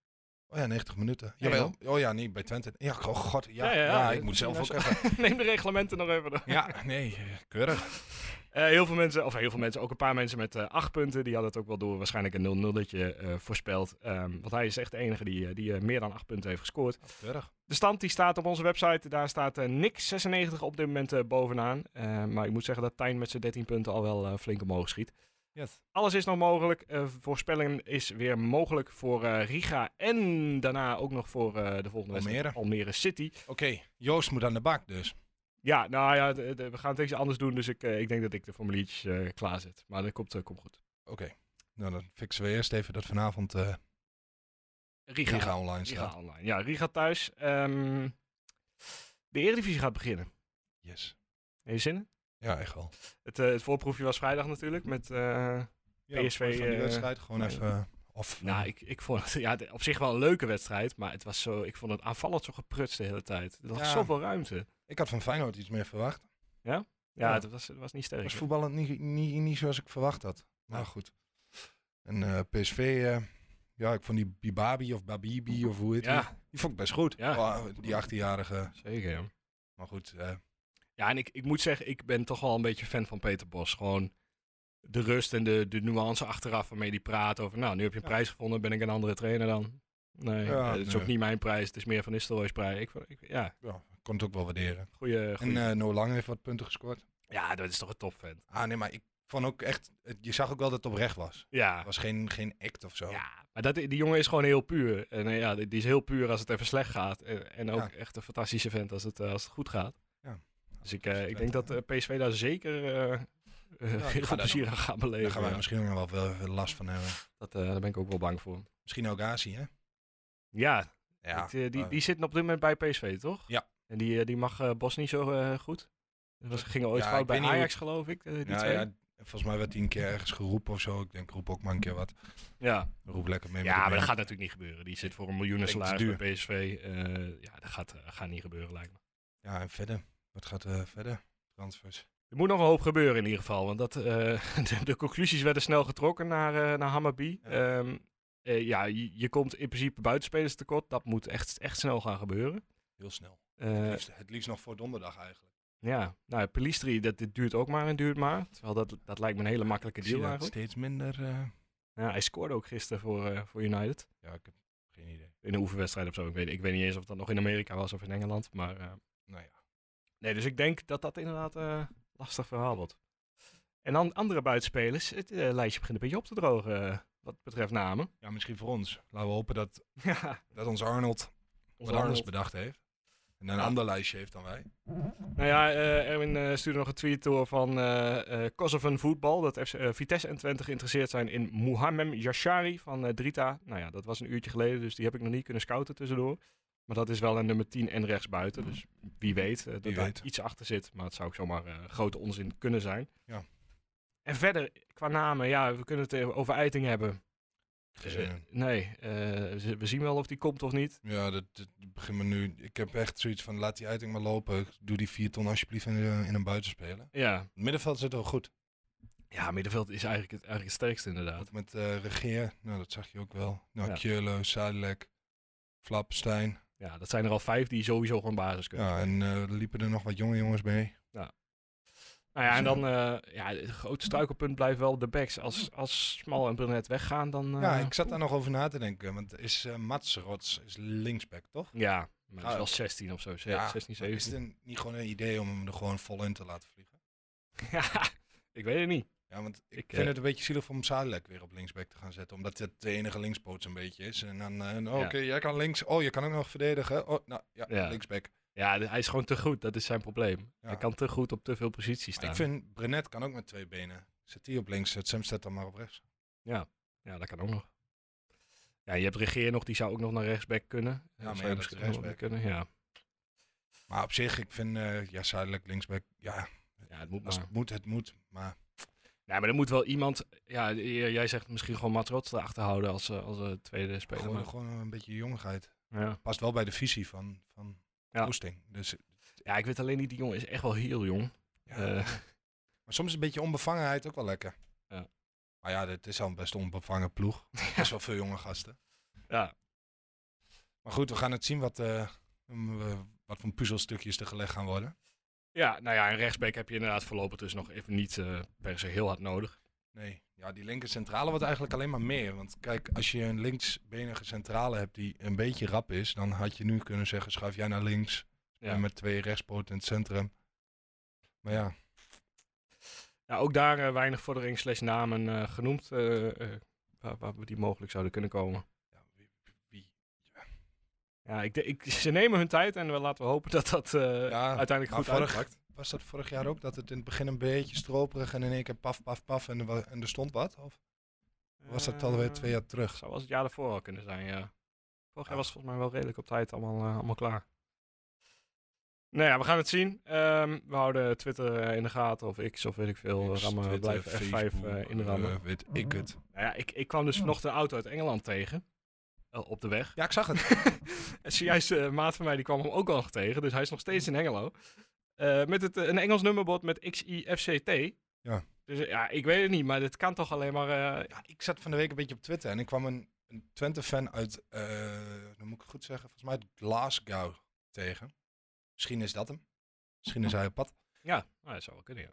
Speaker 4: Oh ja, 90 minuten.
Speaker 1: Nee,
Speaker 4: Jawel. Oh ja, nee, bij Twente. Ja, oh god. Ja,
Speaker 1: Ja,
Speaker 4: ja,
Speaker 1: ja, ja.
Speaker 4: ik moet zelf ook
Speaker 1: Ja,
Speaker 4: even.
Speaker 1: Neem de reglementen nog even door.
Speaker 4: Ja, nee, eh, keurig.
Speaker 1: Eh, heel veel mensen, of heel veel mensen, ook een paar mensen met eh acht punten, die hadden het ook wel door. Waarschijnlijk een 0-0'tje eh voorspeld. Ehm, want hij is echt de enige die, eh, die eh, meer dan acht punten heeft gescoord.
Speaker 4: Keurig.
Speaker 1: De stand die staat op onze website. Daar staat eh, Nick 96 op dit moment eh, bovenaan. Eh, maar ik moet zeggen dat Tijn met zijn 13 punten al wel eh, flink omhoog schiet.
Speaker 4: Yes.
Speaker 1: Alles is nog mogelijk. Eh voorspelling is weer mogelijk voor eh, Riga. En daarna ook nog voor eh, de volgende wedstrijd.
Speaker 4: Almere.
Speaker 1: Almere City.
Speaker 4: Oké, Joost moet aan de bak dus.
Speaker 1: Ja, nou ja, d- d- we gaan het eens anders doen. Dus ik, eh, ik denk dat ik de formuliertjes eh, klaarzet. Maar dat komt, eh, komt goed.
Speaker 4: Oké. Nou, dan fixen we eerst even dat vanavond eh
Speaker 1: Riga.
Speaker 4: Giga online
Speaker 1: Riga
Speaker 4: staat.
Speaker 1: online. Ja, Riga thuis. Ehm, de Eredivisie gaat beginnen.
Speaker 4: Yes.
Speaker 1: Heb je zin in?
Speaker 4: Ja, echt wel.
Speaker 1: Het, eh, het voorproefje was vrijdag natuurlijk. Met, eh,
Speaker 4: Ja,
Speaker 1: PSV,
Speaker 4: voor van die
Speaker 1: eh,
Speaker 4: wedstrijd gewoon
Speaker 1: nee.
Speaker 4: even. eh, Of,
Speaker 1: Nou,
Speaker 4: eh,
Speaker 1: ik, ik vond het [LAUGHS] ja, de- op zich wel een leuke wedstrijd, maar het was zo, ik vond het aanvallend zo geprutst de hele tijd. Er was
Speaker 4: Ja.
Speaker 1: zoveel ruimte.
Speaker 4: ik had van Feyenoord iets meer verwacht.
Speaker 1: Ja,
Speaker 4: Ja.
Speaker 1: Het, was, het was niet sterk.
Speaker 4: was voetballend niet, niet, niet zoals ik verwacht had. Maar
Speaker 1: Ja.
Speaker 4: goed. En eh, PSV, eh, Ja, ik vond die Bibabi of Babibi of hoe heet die.
Speaker 1: Ja,
Speaker 4: Die vond ik best goed.
Speaker 1: Ja.
Speaker 4: Oh, die 18-jarige.
Speaker 1: zeker. Ja.
Speaker 4: Maar goed, eh,
Speaker 1: Ja, en ik, ik moet zeggen, ik ben toch wel een beetje fan van Peter Bos. Gewoon de rust en de, de nuance achteraf waarmee die praat over... Nou, nu heb je een
Speaker 4: Ja.
Speaker 1: prijs gevonden, ben ik een andere trainer dan? Nee,
Speaker 4: Ja,
Speaker 1: eh, het is
Speaker 4: nee.
Speaker 1: ook niet mijn prijs. Het is meer Van Nistelrooy's prijs. Ik, vond- ik, ja,
Speaker 4: ja, ik kon het ook wel waarderen.
Speaker 1: goeie...
Speaker 4: En
Speaker 1: goeie-
Speaker 4: eh, No Lang heeft wat punten gescoord.
Speaker 1: ja, dat is toch een topvent.
Speaker 4: Ah nee, maar ik vond ook echt... het- Je zag ook wel dat het oprecht was.
Speaker 1: Ja,
Speaker 4: Het was geen, geen act of zo.
Speaker 1: ja. Maar dat, die jongen is gewoon heel puur. En eh, ja, die, die is heel puur als het even slecht gaat. En, en ook
Speaker 4: Ja.
Speaker 1: echt een fantastische vent als het, eh, als het goed gaat.
Speaker 4: Ja.
Speaker 1: Dus ik, eh, ik denk dat eh, PSV daar zeker eh, eh, heel veel
Speaker 4: gaan
Speaker 1: plezier
Speaker 4: ook-
Speaker 1: aan gaat
Speaker 4: Daar
Speaker 1: beleven.
Speaker 4: gaan wij
Speaker 1: ja.
Speaker 4: misschien nog wel veel veel last van hebben.
Speaker 1: dat, eh, daar ben ik ook wel bang voor.
Speaker 4: Misschien ook Azië, hè?
Speaker 1: Ja,
Speaker 4: Ja,
Speaker 1: Het, eh, die,
Speaker 4: eh,
Speaker 1: die zitten op dit moment bij PSV, toch?
Speaker 4: Ja.
Speaker 1: En die, eh, die mag eh, Bos niet zo eh, goed. Dat was, gingen ooit
Speaker 4: Ja,
Speaker 1: fout
Speaker 4: ik
Speaker 1: bij
Speaker 4: weet niet hoe
Speaker 1: Ajax, geloof ik. eh, die
Speaker 4: ja,
Speaker 1: twee.
Speaker 4: ja,
Speaker 1: ja.
Speaker 4: volgens mij werd tien keer ergens geroepen of zo. Ik denk, roep ook maar een keer wat.
Speaker 1: Ja.
Speaker 4: Roep lekker mee. met
Speaker 1: maar
Speaker 4: het
Speaker 1: dat
Speaker 4: mee.
Speaker 1: gaat natuurlijk niet gebeuren. Die zit voor een miljoenen
Speaker 4: Ik denk te
Speaker 1: salaris bij PSV. Eh, ja, dat gaat, eh, gaat niet gebeuren, lijkt me.
Speaker 4: Ja, en verder. Wat gaat eh, verder? Transfers.
Speaker 1: Er moet nog een hoop gebeuren in ieder geval. Want dat, eh, [LAUGHS] de, de conclusies werden snel getrokken naar, eh naar Hammerby.
Speaker 4: Ja.
Speaker 1: Ja, ja je, je komt in principe buitenspelers tekort. Dat moet echt, echt snel gaan gebeuren.
Speaker 4: Heel snel.
Speaker 1: Eh,
Speaker 4: Het liefst- het liefst nog voor donderdag eigenlijk.
Speaker 1: ja, nou, ja, Pelistri, dat, dit duurt ook maar en duurt maar. Terwijl dat, dat lijkt me een hele makkelijke
Speaker 4: Ik zie
Speaker 1: deal
Speaker 4: dat
Speaker 1: eigenlijk.
Speaker 4: steeds minder... eh,
Speaker 1: Ja, hij scoorde ook gisteren voor, eh, voor United.
Speaker 4: Ja, ik heb geen idee.
Speaker 1: In een oefenwedstrijd of zo. Ik weet, ik weet niet eens of dat nog in Amerika was of in Engeland. Maar, eh,
Speaker 4: Nou ja.
Speaker 1: nee, dus ik denk dat dat inderdaad eh lastig verhaal wordt. En dan andere buitenspelers. Het eh, lijstje begint een beetje op te drogen eh, wat betreft namen.
Speaker 4: ja, misschien voor ons. Laten we hopen dat,
Speaker 1: Ja,
Speaker 4: dat ons Arnold wat anders bedacht heeft. En een
Speaker 1: Ja.
Speaker 4: ander lijstje heeft dan wij.
Speaker 1: Nou ja, eh, Erwin eh, stuurde nog een tweet door van eh eh Kosovan Voetbal. Dat FC, eh, Vitesse en Twente geïnteresseerd zijn in Muhammem Yashari van eh, Drita. Nou ja, dat was een uurtje geleden, dus die heb ik nog niet kunnen scouten tussendoor. Maar dat is wel een nummer 10 en rechtsbuiten. Dus wie weet eh, dat
Speaker 4: Wie
Speaker 1: daar
Speaker 4: weet.
Speaker 1: iets achter zit. Maar het zou ook zomaar eh, grote onzin kunnen zijn.
Speaker 4: Ja.
Speaker 1: En verder, qua namen, ja, we kunnen het eh, over Eiting hebben.
Speaker 4: Dus,
Speaker 1: Eh,
Speaker 4: eh,
Speaker 1: nee, eh, ze- we zien wel of die komt of niet.
Speaker 4: ja, dat, dat begint me nu. Ik heb echt zoiets van: laat die uiting maar lopen. Doe die vier ton alsjeblieft in, eh, in een buitenspelen.
Speaker 1: Ja,
Speaker 4: Het middenveld zit wel goed.
Speaker 1: ja middenveld is eigenlijk het, eigenlijk het sterkste inderdaad.
Speaker 4: Want met eh, Regeer, nou dat zag je ook wel. Nou,
Speaker 1: Ja.
Speaker 4: Kjörlo, Sadilek, Flap, Stijn.
Speaker 1: Ja, dat zijn er al vijf die sowieso gewoon basis kunnen.
Speaker 4: Ja, en eh, er liepen er nog wat jonge jongens mee.
Speaker 1: Nou ja, en dan, eh, ja, het grote struikelpunt blijft wel de backs. Als, als Smal en Brunet weggaan, dan... eh,
Speaker 4: ja, ik zat daar nog over na te denken. Want is eh Mats Rots is linksback, toch?
Speaker 1: Ja, maar dat is
Speaker 4: Ah,
Speaker 1: wel 16 of zo. ze-
Speaker 4: Ja,
Speaker 1: 16,
Speaker 4: Maar Is
Speaker 1: 17.
Speaker 4: het een- niet gewoon een idee om hem er gewoon vol in te laten vliegen?
Speaker 1: [LAUGHS]
Speaker 4: eh,
Speaker 1: Ja, ik weet het niet.
Speaker 4: Ja, want ik,
Speaker 1: Ik,
Speaker 4: vind
Speaker 1: eh,
Speaker 4: het een beetje zielig om Sadilek weer op linksback te gaan zetten. Omdat het de enige linkspoot een beetje is. En dan, eh, oh,
Speaker 1: Ja.
Speaker 4: oké, jij kan links. Oh, je kan ook nog verdedigen. Oh, nou ja,
Speaker 1: Ja.
Speaker 4: linksback.
Speaker 1: Ja, de- hij is gewoon te goed. Dat is zijn probleem.
Speaker 4: Ja.
Speaker 1: Hij kan te goed op te veel posities
Speaker 4: Maar
Speaker 1: staan.
Speaker 4: ik vind, Brenet kan ook met twee benen. Zet die op links, zet Sam zet dan maar op rechts.
Speaker 1: Ja, dat kan ook nog. Ja, je hebt Regeer nog. Die zou ook nog naar rechtsback kunnen. Zou
Speaker 4: maar ja,
Speaker 1: je
Speaker 4: dat
Speaker 1: misschien
Speaker 4: is rechtsback.
Speaker 1: nog Kunnen, ja.
Speaker 4: Maar op zich, ik vind, eh, ja, Sadilek linksback, ja,
Speaker 1: ja, het moet
Speaker 4: als
Speaker 1: maar.
Speaker 4: het moet, het moet. Maar
Speaker 1: Ja, maar er moet wel iemand... Ja, j- jij zegt misschien gewoon Matrots erachter houden als, eh, als eh, tweede speler.
Speaker 4: gewoon,
Speaker 1: maar-
Speaker 4: gewoon een beetje jongigheid.
Speaker 1: ja.
Speaker 4: Past wel bij de visie van, van
Speaker 1: Ja.
Speaker 4: Oesting. Dus,
Speaker 1: ja, ik weet alleen niet. Die jongen is echt wel heel jong.
Speaker 4: ja.
Speaker 1: Eh,
Speaker 4: [LAUGHS] Maar soms is een beetje onbevangenheid ook wel lekker.
Speaker 1: Ja.
Speaker 4: Maar ja, dit is al een best
Speaker 1: [LAUGHS]
Speaker 4: onbevangen ploeg. Best wel veel jonge gasten.
Speaker 1: ja.
Speaker 4: Maar goed, we gaan het zien wat, eh, m, eh, wat voor puzzelstukjes er gelegd gaan worden.
Speaker 1: Ja, nou ja, een rechtsback heb je inderdaad voorlopig dus nog even niet eh, per se heel hard nodig.
Speaker 4: Nee, ja, die linker centrale wordt eigenlijk alleen maar meer. Want kijk, als je een linksbenige centrale hebt die een beetje rap is, dan had je nu kunnen zeggen, schuif jij naar links.
Speaker 1: Ja.
Speaker 4: En met twee rechtspoten in het centrum. Maar ja,
Speaker 1: Ja, ook daar eh, weinig vordering slash namen eh, genoemd eh, eh, waar, waar we die mogelijk zouden kunnen komen.
Speaker 4: ja, wie- wie-
Speaker 1: Ja, ik, de- ik, ze nemen hun tijd en we laten we hopen dat dat eh, uiteindelijk
Speaker 4: maar
Speaker 1: goed
Speaker 4: vorig-
Speaker 1: uitpakt.
Speaker 4: was dat vorig jaar ook? Dat het in het begin een beetje stroperig en in één keer paf, paf, paf en er, wa- en er stond wat? Of was dat alweer twee jaar terug?
Speaker 1: Zou als het jaar daarvoor al kunnen zijn, ja. Vorig
Speaker 4: Ja.
Speaker 1: jaar was het volgens mij wel redelijk op tijd allemaal, eh, allemaal klaar. Nou ja, we gaan het zien. Ehm, we houden Twitter eh, in de gaten of X of weet ik veel.
Speaker 4: X,
Speaker 1: rammen,
Speaker 4: Twitter,
Speaker 1: blijven F5
Speaker 4: Facebook,
Speaker 1: eh, inrammen.
Speaker 4: eh, weet ik het.
Speaker 1: Nou ja, ik, ik kwam dus vanochtend een auto uit Engeland tegen.
Speaker 4: Oh,
Speaker 1: eh, op de weg.
Speaker 4: Ja, ik zag het.
Speaker 1: [LAUGHS] En zojuist eh, een maat van mij die kwam hem ook al nog tegen. Dus hij is nog steeds in Engelo. Eh, met het, eh, een Engels nummerbord met XIFCT.
Speaker 4: Ja.
Speaker 1: Dus eh, ja, ik weet het niet, maar dit kan toch alleen maar... eh,
Speaker 4: Ja, ik zat van de week een beetje op Twitter en ik kwam een, een Twente-fan uit, eh, dan moet ik het goed zeggen, volgens mij uit Glasgow tegen. Misschien is dat hem. Misschien is hij op pad.
Speaker 1: Ja, nou, dat zou wel kunnen, ja.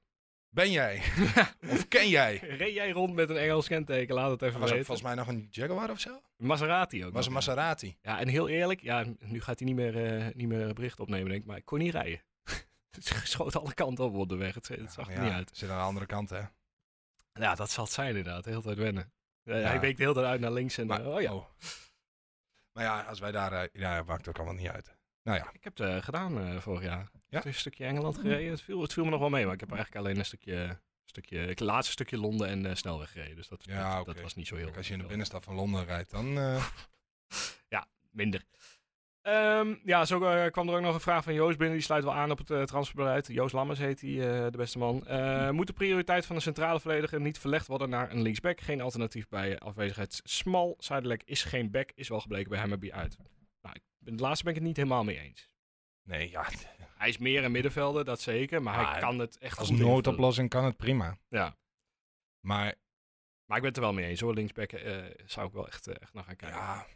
Speaker 4: Ben jij?
Speaker 1: [LAUGHS]
Speaker 4: [LAUGHS] of ken jij?
Speaker 1: Reed jij rond met een Engels kenteken, laat het
Speaker 4: Er
Speaker 1: even
Speaker 4: was ook
Speaker 1: weten.
Speaker 4: volgens mij nog een Jaguar of zo.
Speaker 1: Maserati ook.
Speaker 4: was een
Speaker 1: nog, ja.
Speaker 4: Maserati.
Speaker 1: Ja, en heel eerlijk, ja, nu gaat hij niet meer, eh, niet meer bericht opnemen, denk ik, maar ik kon niet rijden. [LAUGHS] Het schoot alle kanten op op de weg, het, het zag er
Speaker 4: Ja,
Speaker 1: niet uit.
Speaker 4: Zit aan de andere kant, hè?
Speaker 1: Ja, dat zal het zijn inderdaad, de hele tijd wennen. Eh,
Speaker 4: Ja.
Speaker 1: Hij week de hele tijd uit naar links en
Speaker 4: Maar-
Speaker 1: eh, oh ja,
Speaker 4: oh. Maar ja, als wij daar... eh, ja, maakt ook allemaal niet uit. Nou ja,
Speaker 1: ik heb het eh, gedaan eh, vorig jaar. Ik
Speaker 4: Ja?
Speaker 1: heb Een stukje Engeland gereden, het viel, het viel me nog wel mee, maar ik heb eigenlijk alleen een stukje, stukje het laatste stukje Londen en eh, snelweg gereden. Dus dat,
Speaker 4: Ja,
Speaker 1: dat,
Speaker 4: oké.
Speaker 1: dat was niet zo heel
Speaker 4: kijk, als je in de
Speaker 1: heel-
Speaker 4: binnenstad van Londen rijdt,
Speaker 1: [LAUGHS]
Speaker 4: dan... eh,
Speaker 1: minder. Ehm, ja, zo eh, kwam er ook nog een vraag van Joost binnen. Die sluit wel aan op het eh, transferbeleid. Joost Lammers heet die, eh, de beste man. Eh, moet de prioriteit van de centrale verdediger niet verlegd worden naar een linksback? Geen alternatief bij afwezigheid. Smal, zuidelijk is geen back, is wel gebleken bij Hammerby uit. Nou, ik ben, het laatste ben ik het niet helemaal mee eens.
Speaker 4: nee, ja,
Speaker 1: Hij is meer een middenvelder, dat zeker. Maar
Speaker 4: Ja,
Speaker 1: hij kan het echt
Speaker 4: als
Speaker 1: goed invullen.
Speaker 4: noodoplossing kan het prima.
Speaker 1: Ja.
Speaker 4: Maar
Speaker 1: Maar ik ben het er wel mee eens hoor. Linksback eh, zou ik wel echt, eh, echt naar gaan kijken.
Speaker 4: Ja,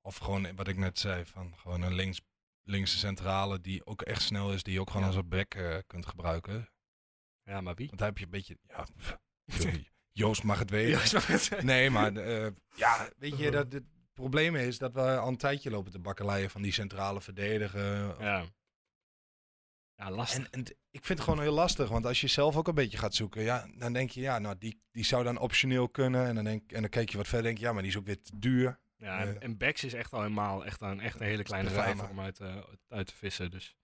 Speaker 4: of gewoon wat ik net zei, van gewoon een links, linkse centrale die ook echt snel is, die je ook gewoon
Speaker 1: Ja.
Speaker 4: als een back eh, kunt gebruiken.
Speaker 1: Ja, maar wie?
Speaker 4: Want daar heb je een beetje, ja,
Speaker 1: [LAUGHS]
Speaker 4: pff, joh, Joost mag het weten.
Speaker 1: Joost mag het zeggen.
Speaker 4: [LAUGHS] Nee, maar eh, ja, weet je, dat het probleem is dat we al een tijdje lopen te bakkeleien van die centrale verdedigen.
Speaker 1: [LAUGHS] Ja. Ja, lastig.
Speaker 4: En, en t- ik vind het gewoon heel lastig, want als je zelf ook een beetje gaat zoeken, ja, dan denk je, ja, nou, die, die zou dan optioneel kunnen. En dan, denk, en dan kijk je wat verder, denk je, ja, maar die is ook weer te duur.
Speaker 1: Ja, en,
Speaker 4: Eh.
Speaker 1: en Bex is echt al helemaal echt een, echt een hele kleine
Speaker 4: drama.
Speaker 1: vijver om uit, eh, uit te vissen. Dus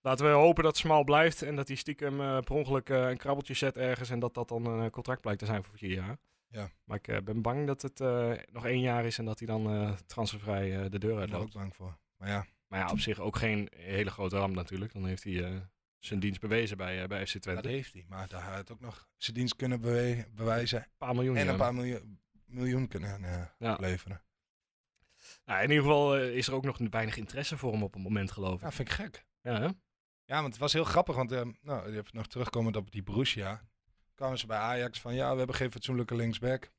Speaker 1: laten we hopen dat Smal blijft en dat hij stiekem eh, per ongeluk eh, een krabbeltje zet ergens en dat dat dan een eh, contract blijkt te zijn voor vier jaar.
Speaker 4: Ja.
Speaker 1: Maar ik eh, ben bang dat het eh, nog één jaar is en dat hij dan eh, transfervrij eh, de deur
Speaker 4: Daar ben ik
Speaker 1: uitloopt.
Speaker 4: ook bang voor. Maar ja,
Speaker 1: Maar ja, op zich ook geen hele grote ramp natuurlijk. Dan heeft hij eh, zijn dienst bewezen bij, eh, bij FC Twente.
Speaker 4: Dat heeft hij, maar daar had het ook nog zijn dienst kunnen bewe- bewijzen.
Speaker 1: een paar miljoen.
Speaker 4: En
Speaker 1: ja.
Speaker 4: een paar miljoen, miljoen kunnen eh,
Speaker 1: Ja.
Speaker 4: leveren.
Speaker 1: Nou, in ieder geval eh, is er ook nog weinig interesse voor hem op het moment geloof ik.
Speaker 4: Ja, vind ik gek.
Speaker 1: Ja, hè?
Speaker 4: Ja, want het was heel grappig, want eh, nou, je hebt nog terugkomend op die Borussia. Kwamen ze bij Ajax van, ja, we hebben geen fatsoenlijke linksback.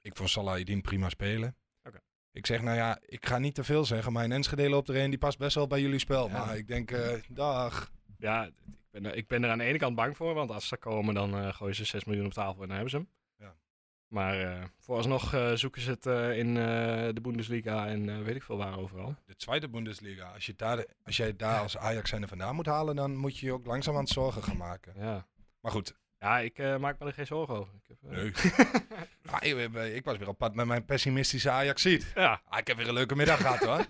Speaker 4: Ik vond Salah Edin prima spelen.
Speaker 1: Oké.
Speaker 4: Ik zeg, nou ja, ik ga niet te veel zeggen, maar in Enschede loopt er een, die past best wel bij jullie spel.
Speaker 1: Ja.
Speaker 4: Maar ik denk, eh, dag.
Speaker 1: Ja, ik ben, er, ik ben er aan de ene kant bang voor, want als ze komen, dan eh, gooien ze 6 miljoen op tafel en dan hebben ze hem.
Speaker 4: Ja.
Speaker 1: Maar eh, vooralsnog eh, zoeken ze het eh, in eh, de Bundesliga en eh, weet ik veel waar overal.
Speaker 4: De tweede Bundesliga, als, je daar, als jij daar als Ajax zijnde vandaan moet halen, dan moet je je ook langzaam aan het zorgen gaan maken.
Speaker 1: Ja,
Speaker 4: Maar goed,
Speaker 1: ja ik eh, maak me er geen zorgen over. Ik heb, eh,
Speaker 4: Nee. Ah, ik, ben- ik was weer op pad met mijn pessimistische ajax
Speaker 1: [LAUGHS] Ja.
Speaker 4: Ah, ik heb weer een leuke middag gehad hoor.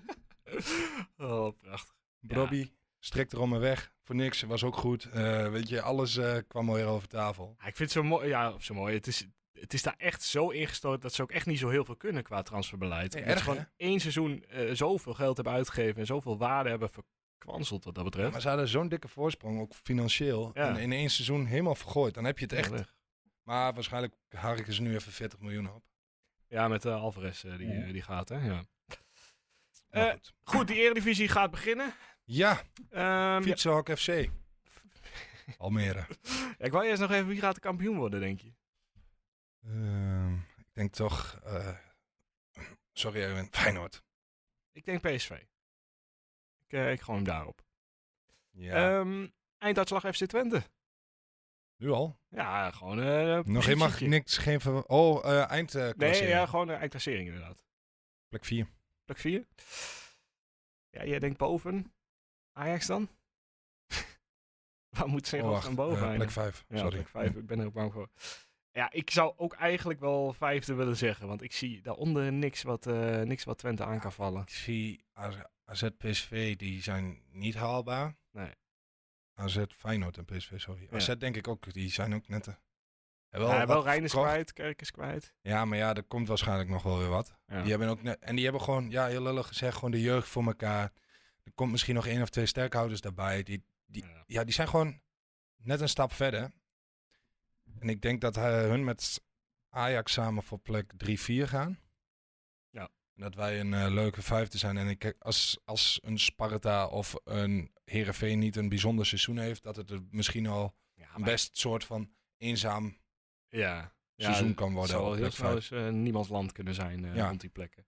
Speaker 1: [LAUGHS] Oh, prachtig.
Speaker 4: Robbie strikt er om me weg. Voor niks, was ook goed. Eh, weet je, alles eh, kwam weer over tafel.
Speaker 1: Ja, Ah, ik vind het zo mooi. Ja, of zo mooi. Het is, het is daar echt zo ingestort dat ze ook echt niet zo heel veel kunnen qua transferbeleid.
Speaker 4: Nee,
Speaker 1: Omdat
Speaker 4: erg,
Speaker 1: ze gewoon één seizoen eh, zoveel geld hebben uitgegeven en zoveel waarde hebben verkwanseld wat dat betreft.
Speaker 4: Maar ze hadden zo'n dikke voorsprong, ook financieel.
Speaker 1: Ja.
Speaker 4: En in één seizoen helemaal vergooid. Dan heb je het echt.
Speaker 1: Ja, weg.
Speaker 4: Maar waarschijnlijk harken ze nu even 40 miljoen op.
Speaker 1: Ja, met eh, Alvarez eh, die, eh, die gaat, hè? Ja.
Speaker 4: Maar
Speaker 1: Eh,
Speaker 4: goed.
Speaker 1: Goed, die Eredivisie gaat beginnen.
Speaker 4: Ja,
Speaker 1: Ehm, ja.
Speaker 4: Fietsenhok
Speaker 1: [LAUGHS]
Speaker 4: FC. Almere.
Speaker 1: Ik wou eerst nog even, wie gaat de kampioen worden, denk je?
Speaker 4: Ehm, ik denk toch... eh, sorry Erwin, Feyenoord.
Speaker 1: Ik denk PSV. Ik, eh, ik gooi hem daarop.
Speaker 4: Ja,
Speaker 1: Ehm, einduitslag FC Twente.
Speaker 4: nu al.
Speaker 1: Ja, gewoon... eh,
Speaker 4: Nog
Speaker 1: positietje.
Speaker 4: helemaal niks, geen ver... Oh, eh eind eh,
Speaker 1: Nee,
Speaker 4: klassering.
Speaker 1: ja, gewoon een eindklassering inderdaad.
Speaker 4: Plek 4.
Speaker 1: Plek 4. Ja, jij denkt boven. Ajax dan? [LAUGHS] Waar moet ze in
Speaker 4: Oh, wacht.
Speaker 1: godsnaam boven
Speaker 4: Eh,
Speaker 1: eindigen?
Speaker 4: plek 5,
Speaker 1: Ja,
Speaker 4: sorry.
Speaker 1: plek vijf, ik ben er ook bang voor. Ja, ik zou ook eigenlijk wel vijfde willen zeggen, want ik zie daaronder niks wat, eh, niks wat Twente aan kan vallen.
Speaker 4: Ik zie AZ, AZ, PSV, die zijn niet haalbaar.
Speaker 1: Nee.
Speaker 4: AZ, Feyenoord en PSV, sorry.
Speaker 1: Ja.
Speaker 4: AZ denk ik ook, die zijn ook net... eh, hebben
Speaker 1: Wel, ja, wel
Speaker 4: wat
Speaker 1: Rijn is
Speaker 4: verkocht.
Speaker 1: kwijt, Kerk is kwijt.
Speaker 4: Ja, maar ja, er komt waarschijnlijk nog wel weer wat.
Speaker 1: Ja.
Speaker 4: Die hebben ook net, en die hebben gewoon, ja, heel lullig gezegd, gewoon de jeugd voor elkaar. Er komt misschien nog één of twee sterkhouders daarbij. Die, die,
Speaker 1: Ja.
Speaker 4: ja, die zijn gewoon net een stap verder. En ik denk dat eh, hun met Ajax samen voor plek 3-4 gaan.
Speaker 1: Ja.
Speaker 4: En dat wij een eh, leuke vijfde zijn. En ik, eh, als, als een Sparta of een Herenveen niet een bijzonder
Speaker 1: Ah,
Speaker 4: seizoen heeft, dat het er misschien al
Speaker 1: Ja,
Speaker 4: een
Speaker 1: maar-
Speaker 4: best soort van eenzaam
Speaker 1: ja.
Speaker 4: seizoen kan worden.
Speaker 1: Het zou
Speaker 4: op
Speaker 1: wel heel
Speaker 4: plek
Speaker 1: snel
Speaker 4: vijf.
Speaker 1: eens, eh, niemands land kunnen zijn eh,
Speaker 4: Ja.
Speaker 1: rond die plekken.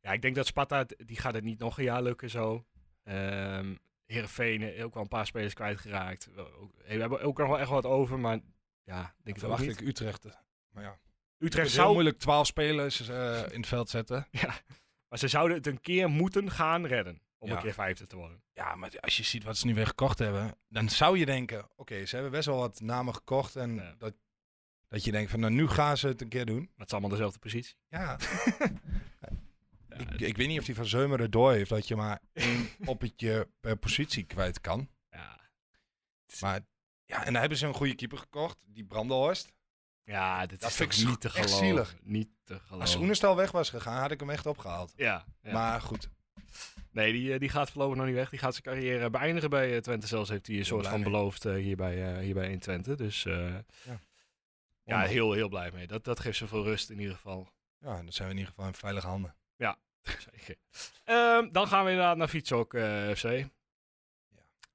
Speaker 1: Ja, ik denk dat Sparta, d- die gaat het niet nog een jaar lukken zo. Ehm Heerenveen, eh, ook wel een paar spelers kwijtgeraakt. We, ook- we hebben ook nog wel echt wat over, maar ja, ik denk
Speaker 4: Dan
Speaker 1: het ook
Speaker 4: verwacht
Speaker 1: niet.
Speaker 4: ik Utrecht. eh, Maar ja, het
Speaker 1: Utrecht
Speaker 4: is heel
Speaker 1: zou,
Speaker 4: moeilijk 12 spelers eh, in het veld zetten.
Speaker 1: maar ze zouden het een keer moeten gaan redden om
Speaker 4: Ja.
Speaker 1: een keer vijfde te worden.
Speaker 4: Ja, maar als je ziet wat ze nu weer gekocht hebben, dan zou je denken, oké, ze hebben best wel wat namen gekocht. En
Speaker 1: Ja.
Speaker 4: dat, dat je denkt van, nou nu gaan ze het een keer doen.
Speaker 1: Maar het is allemaal dezelfde
Speaker 4: [LAUGHS]
Speaker 1: positie. [LAUGHS]
Speaker 4: Ja. ik, ik weet niet of die van Zeumeren door heeft dat je maar één poppetje per eh, positie kwijt kan.
Speaker 1: Ja,
Speaker 4: Maar ja, en dan hebben ze een goede keeper gekocht, die Brandelhorst.
Speaker 1: ja dit
Speaker 4: Dat
Speaker 1: is
Speaker 4: vind
Speaker 1: toch
Speaker 4: ik
Speaker 1: niet te
Speaker 4: echt
Speaker 1: geloven.
Speaker 4: zielig.
Speaker 1: Niet te geloven.
Speaker 4: Als Oenestal weg was gegaan, had ik hem echt opgehaald.
Speaker 1: Ja, ja.
Speaker 4: Maar goed,
Speaker 1: Nee, die, eh, die gaat voorlopig nog niet weg. Die gaat zijn carrière beëindigen bij eh, Twente. Zelfs heeft hij een soort
Speaker 4: blij
Speaker 1: van
Speaker 4: mee.
Speaker 1: beloofd eh, hier, bij, eh, hier bij 1 Twente. Dus eh, ja,
Speaker 4: Wonder.
Speaker 1: heel, heel blij mee. Dat, dat geeft ze veel rust in ieder geval.
Speaker 4: ja, dan zijn we in ieder geval in veilige handen.
Speaker 1: [LAUGHS] Zeker. Ehm, dan gaan we inderdaad naar Fietshok eh, FC.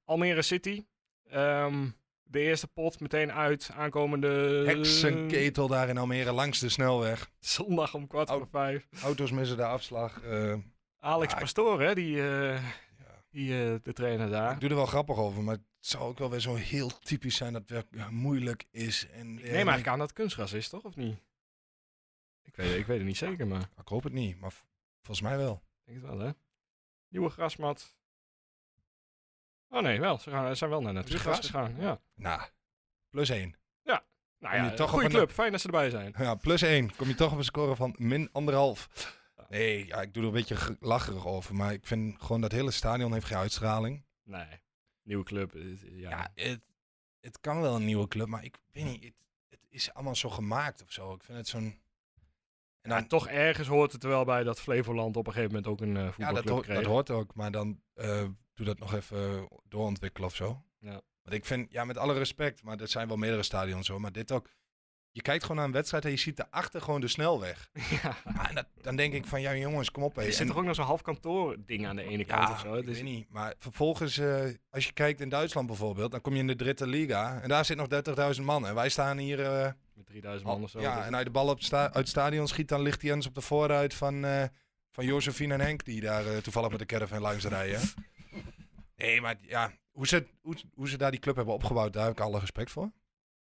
Speaker 1: Almere City. Ehm, de eerste pot meteen uit. Aankomende
Speaker 4: Heksenketel daar in Almere langs de snelweg.
Speaker 1: zondag om kwart voor
Speaker 4: Oh.
Speaker 1: vijf.
Speaker 4: Auto's missen de afslag. eh,
Speaker 1: Alex
Speaker 4: Ja, ik-
Speaker 1: Pastoor, hè, die, eh,
Speaker 4: ja.
Speaker 1: die, eh, de trainer daar.
Speaker 4: Ik doe er wel grappig over, maar het zou ook wel weer zo heel typisch zijn dat het weer moeilijk is. En,
Speaker 1: Ik neem eigenlijk aan dat het kunstgras is, toch? Of niet? Ik weet, ik weet het niet zeker, maar ik
Speaker 4: Ik hoop het niet, maar v- volgens mij wel.
Speaker 1: denk het wel, hè? Nieuwe grasmat. Oh nee, wel. Ze, gaan, ze zijn wel naar natuurgras
Speaker 4: gras?
Speaker 1: gegaan. Ja.
Speaker 4: Nou, plus één. [LAUGHS]
Speaker 1: Nou ja,
Speaker 4: Kom je toch
Speaker 1: toch goede
Speaker 4: op een-
Speaker 1: club. Fijn dat ze erbij zijn.
Speaker 4: Ja, plus één. Kom je toch op een score van min anderhalf. Nee, ja, ik doe er een beetje ge- lacherig over. Maar ik vind gewoon dat hele stadion heeft geen uitstraling.
Speaker 1: Nee. Nieuwe club. eh, Ja.
Speaker 4: Ja, het, het kan wel een nieuwe club, maar ik weet niet. Het, het is allemaal zo gemaakt of zo. Ik vind het zo'n... En
Speaker 1: Maar
Speaker 4: dan,
Speaker 1: toch ergens hoort het er wel bij dat Flevoland op een gegeven moment ook een eh,
Speaker 4: ja,
Speaker 1: voetbalclub
Speaker 4: dat, hoort-
Speaker 1: kreeg.
Speaker 4: dat hoort ook. Maar dan eh, doe dat nog even doorontwikkelen of zo.
Speaker 1: Ja.
Speaker 4: Want ik vind, ja, met alle respect, maar dat zijn wel meerdere stadions zo. Maar dit ook. Je kijkt gewoon naar een wedstrijd en je ziet daarachter gewoon de snelweg.
Speaker 1: [LAUGHS] ja.
Speaker 4: Ah, en dat, dan denk ik van, ja jongens, kom op. hé.
Speaker 1: Er zit
Speaker 4: En-
Speaker 1: toch ook nog zo'n half kantoor ding aan de ene kant
Speaker 4: Ja,
Speaker 1: of zo. Dus Het
Speaker 4: ik
Speaker 1: is-
Speaker 4: weet niet. Maar vervolgens, eh, als je kijkt in Duitsland bijvoorbeeld, dan kom je in de dritte liga. En daar zit nog 30.000 man. En wij staan hier... eh,
Speaker 1: met 3000 man of zo. Dus
Speaker 4: ja, en hij de bal op sta- uit het stadion schiet, dan ligt hij eens op de voorruit van, eh van Josephine en Henk, die daar eh, toevallig met de caravan langs
Speaker 1: [LAUGHS]
Speaker 4: rijden. nee, maar ja, hoe ze, hoe, hoe ze daar die club hebben opgebouwd, daar heb ik alle respect voor.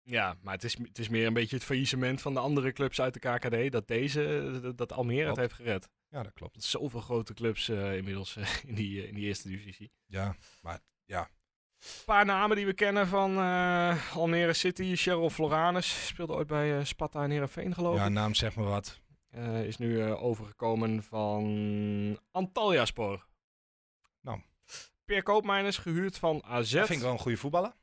Speaker 1: Ja, maar het is, het is meer een beetje het faillissement van de andere clubs uit de KKD. Dat deze, eh, dat, dat Almere het
Speaker 4: Klopt.
Speaker 1: heeft gered.
Speaker 4: Ja, dat klopt.
Speaker 1: Want Zoveel grote clubs eh, inmiddels eh, [LAUGHS] in, die, eh, in die eerste divisie.
Speaker 4: Ja,
Speaker 1: Een paar namen die we kennen van eh, Almere City. Cheryl Floranus speelde ooit bij eh, Sparta en Heerenveen geloof
Speaker 4: ja
Speaker 1: ik.
Speaker 4: naam zeg me wat.
Speaker 1: Eh, is nu eh, overgekomen van Antalya Spoor.
Speaker 4: Nou.
Speaker 1: Peer Koopmijn is gehuurd van AZ.
Speaker 4: Dat vind ik wel een goede voetballer.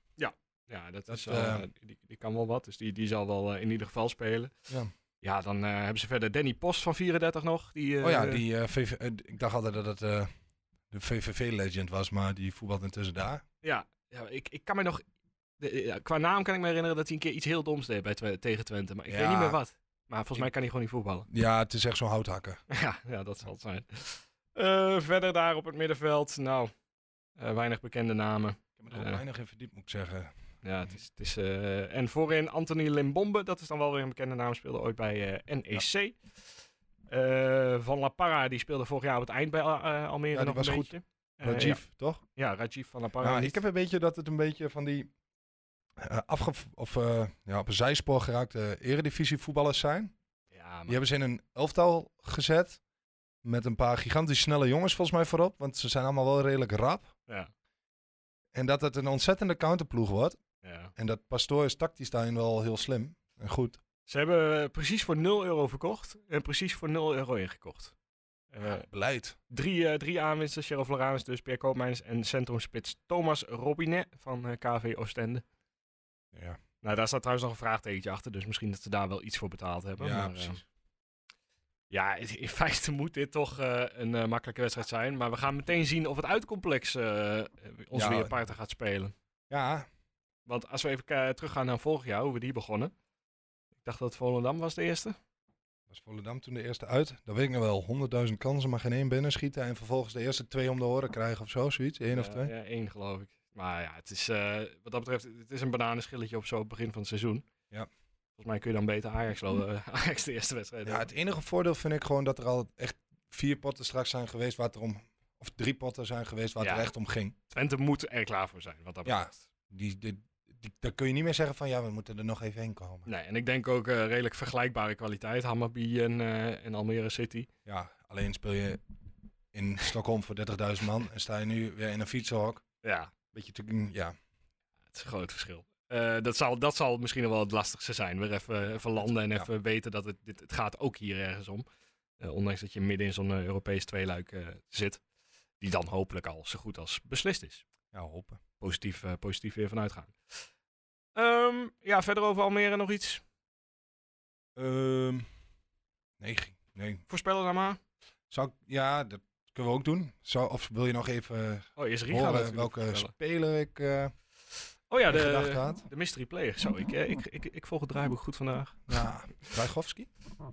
Speaker 1: Ja, dat,
Speaker 4: Dat,
Speaker 1: is, wel, eh,
Speaker 4: eh,
Speaker 1: die, die kan wel wat. Dus die, die zal wel eh, in ieder geval spelen.
Speaker 4: Ja.
Speaker 1: Ja, dan eh, hebben ze verder Danny Post van 34 nog. Die, eh,
Speaker 4: oh ja, die, eh, VV eh, ik dacht altijd dat het eh, de VVV-legend was, maar die voetbalt intussen daar.
Speaker 1: Ja, ja ik, ik kan me nog. de- eh, ja, qua naam kan ik me herinneren dat hij een keer iets heel doms deed bij Twe- tegen Twente. Maar ik weet
Speaker 4: Ja.
Speaker 1: niet meer wat. Maar volgens
Speaker 4: Ik-
Speaker 1: mij kan hij gewoon niet voetballen. [LAUGHS]
Speaker 4: Ja, het is echt zo'n houthakker.
Speaker 1: ja, ja, dat zal het zijn. Eh, verder daar op het middenveld. Nou, eh, weinig bekende namen.
Speaker 4: Ik heb me er ook
Speaker 1: Eh.
Speaker 4: weinig in verdiept, moet ik zeggen.
Speaker 1: Ja, het is, het is, eh, en voorin Anthony Limbombe. Dat is dan wel weer een bekende naam. Speelde ooit bij eh, NEC. Eh, Van La Parra, die speelde vorig jaar op het eind bij Al- eh, Almere
Speaker 4: Ja, die
Speaker 1: nog
Speaker 4: was
Speaker 1: een
Speaker 4: goed.
Speaker 1: beetje. Eh,
Speaker 4: Rajiv, toch?
Speaker 1: ja. ja, Rajiv van La Parra.
Speaker 4: Ja,
Speaker 1: niet.
Speaker 4: Nou, ik heb een beetje dat het een beetje van die eh, afge of, eh, ja, op een zijspoor geraakte eredivisie voetballers zijn.
Speaker 1: ja,
Speaker 4: Die
Speaker 1: maar
Speaker 4: hebben ze in een elftal gezet. Met een paar gigantisch snelle jongens volgens mij voorop. Want ze zijn allemaal wel redelijk rap.
Speaker 1: Ja.
Speaker 4: En dat het een ontzettende counterploeg wordt.
Speaker 1: ja.
Speaker 4: En dat Pastoor is tactisch daarin wel heel slim. En goed.
Speaker 1: Ze hebben eh, precies voor 0 euro verkocht en precies voor 0 euro ingekocht. Eh,
Speaker 4: Beleid.
Speaker 1: drie, eh, drie aanwinsten, Cheryl Floranus dus, Pierre Koopmijns en centrumspits Thomas Robinet van eh, KV Oostende.
Speaker 4: Ja,
Speaker 1: Nou, daar staat trouwens nog een vraagtekentje achter, dus misschien dat ze daar wel iets voor betaald hebben. maar, eh, ja, in in feite moet dit toch eh, een eh, makkelijke wedstrijd zijn, maar we gaan meteen zien of het uitcomplex eh, eh, ons
Speaker 4: Ja.
Speaker 1: weer parten gaat spelen.
Speaker 4: Ja,
Speaker 1: Want als we even eh, teruggaan naar vorig jaar, hoe we die begonnen. Ik dacht dat Volendam was de eerste.
Speaker 4: was Volendam toen de eerste uit. Dat weet ik nog wel. Honderdduizend kansen, maar geen één binnen schieten. En vervolgens de eerste twee om de oren krijgen of zo. Zoiets. Eén of
Speaker 1: Ja,
Speaker 4: twee.
Speaker 1: Ja, één geloof ik. Maar ja, het is, eh, wat dat betreft, het is een bananenschilletje op zo het begin van het seizoen.
Speaker 4: Ja.
Speaker 1: Volgens mij kun je dan beter Ajax, lo-
Speaker 4: [LAUGHS]
Speaker 1: eh, [LAUGHS] Ajax de eerste wedstrijd.
Speaker 4: Ja,
Speaker 1: doen.
Speaker 4: het enige voordeel vind ik gewoon dat er al echt vier potten straks zijn geweest waar het er om... Of drie potten zijn geweest waar het
Speaker 1: Ja.
Speaker 4: er echt om ging.
Speaker 1: Twente moet er klaar voor zijn. Wat dat
Speaker 4: Ja.
Speaker 1: betreft.
Speaker 4: Die, die, die- daar kun je niet meer zeggen van ja, we moeten er nog even heen komen.
Speaker 1: Nee, en ik denk ook eh, redelijk vergelijkbare kwaliteit. Hammarby en, eh, en Almere City.
Speaker 4: Ja, alleen speel je in Stockholm voor 30.000 man en sta je nu weer in een fietsenhok.
Speaker 1: Ja,
Speaker 4: Beetje te, ja.
Speaker 1: het is een groot verschil. Eh, dat, zal, dat zal misschien wel het lastigste zijn. Weer even, eh, even landen en
Speaker 4: Ja.
Speaker 1: even weten dat het, dit, het gaat ook hier ergens om. Eh, ondanks dat je midden in zo'n eh, Europees tweeluik eh, zit. Die dan hopelijk al zo goed als beslist is.
Speaker 4: ja, hoppen.
Speaker 1: positief, eh, positief weer vanuit gaan. Ehm, ja, verder over Almere nog iets.
Speaker 4: Ehm nee, ging- nee.
Speaker 1: Voorspellen dan maar.
Speaker 4: Zou ik- ja, dat kunnen we ook doen. Zou, of wil je nog even
Speaker 1: Oh, eerst Riga
Speaker 4: horen
Speaker 1: natuurlijk
Speaker 4: welke
Speaker 1: voorspellen.
Speaker 4: speler ik eh
Speaker 1: Oh ja,
Speaker 4: in gedachten
Speaker 1: de,
Speaker 4: had?
Speaker 1: de mystery player. Zo, ik, eh, ik, ik, ik volg het draaiboek goed vandaag.
Speaker 4: Ja, Krajkowski.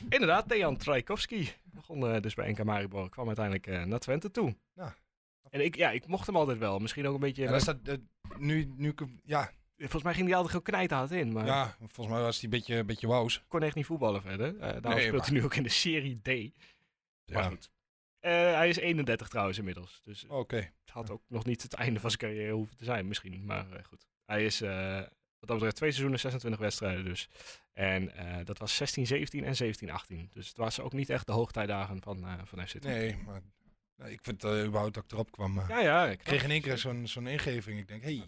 Speaker 1: Inderdaad, Dejan Trajkovski. Begon eh, dus bij NK Maribor. Kwam uiteindelijk eh, naar Twente toe.
Speaker 4: Ja.
Speaker 1: En ik, ja, ik mocht hem altijd wel. Misschien ook een beetje...
Speaker 4: Ja, daar staat, eh, nu, nu, ja,
Speaker 1: Volgens mij ging hij altijd gewoon knijthard in. Maar
Speaker 4: ja, volgens mij was die een beetje, een beetje wauws.
Speaker 1: kon echt niet voetballen verder. Eh daarom
Speaker 4: Nee,
Speaker 1: speelt
Speaker 4: maar-
Speaker 1: hij nu ook in de Serie D. Maar
Speaker 4: Ja.
Speaker 1: goed. Eh, hij is 31 trouwens inmiddels. Dus
Speaker 4: Oké.
Speaker 1: het had ook nog niet het einde van zijn carrière hoeven te zijn, misschien. Maar eh, goed. Hij is eh, wat dat betreft twee seizoenen, 26 wedstrijden dus. En eh, dat was 16, 17 en 17, 18. Dus het was ook niet echt de hoogtijdagen van, eh van FC Twente.
Speaker 4: Nee, maar nou, ik vind eh, überhaupt dat ik erop kwam. eh.
Speaker 1: Ja, ja. ik-
Speaker 4: Ik kreeg in één keer zo'n zo'n ingeving. Ik denk, hey,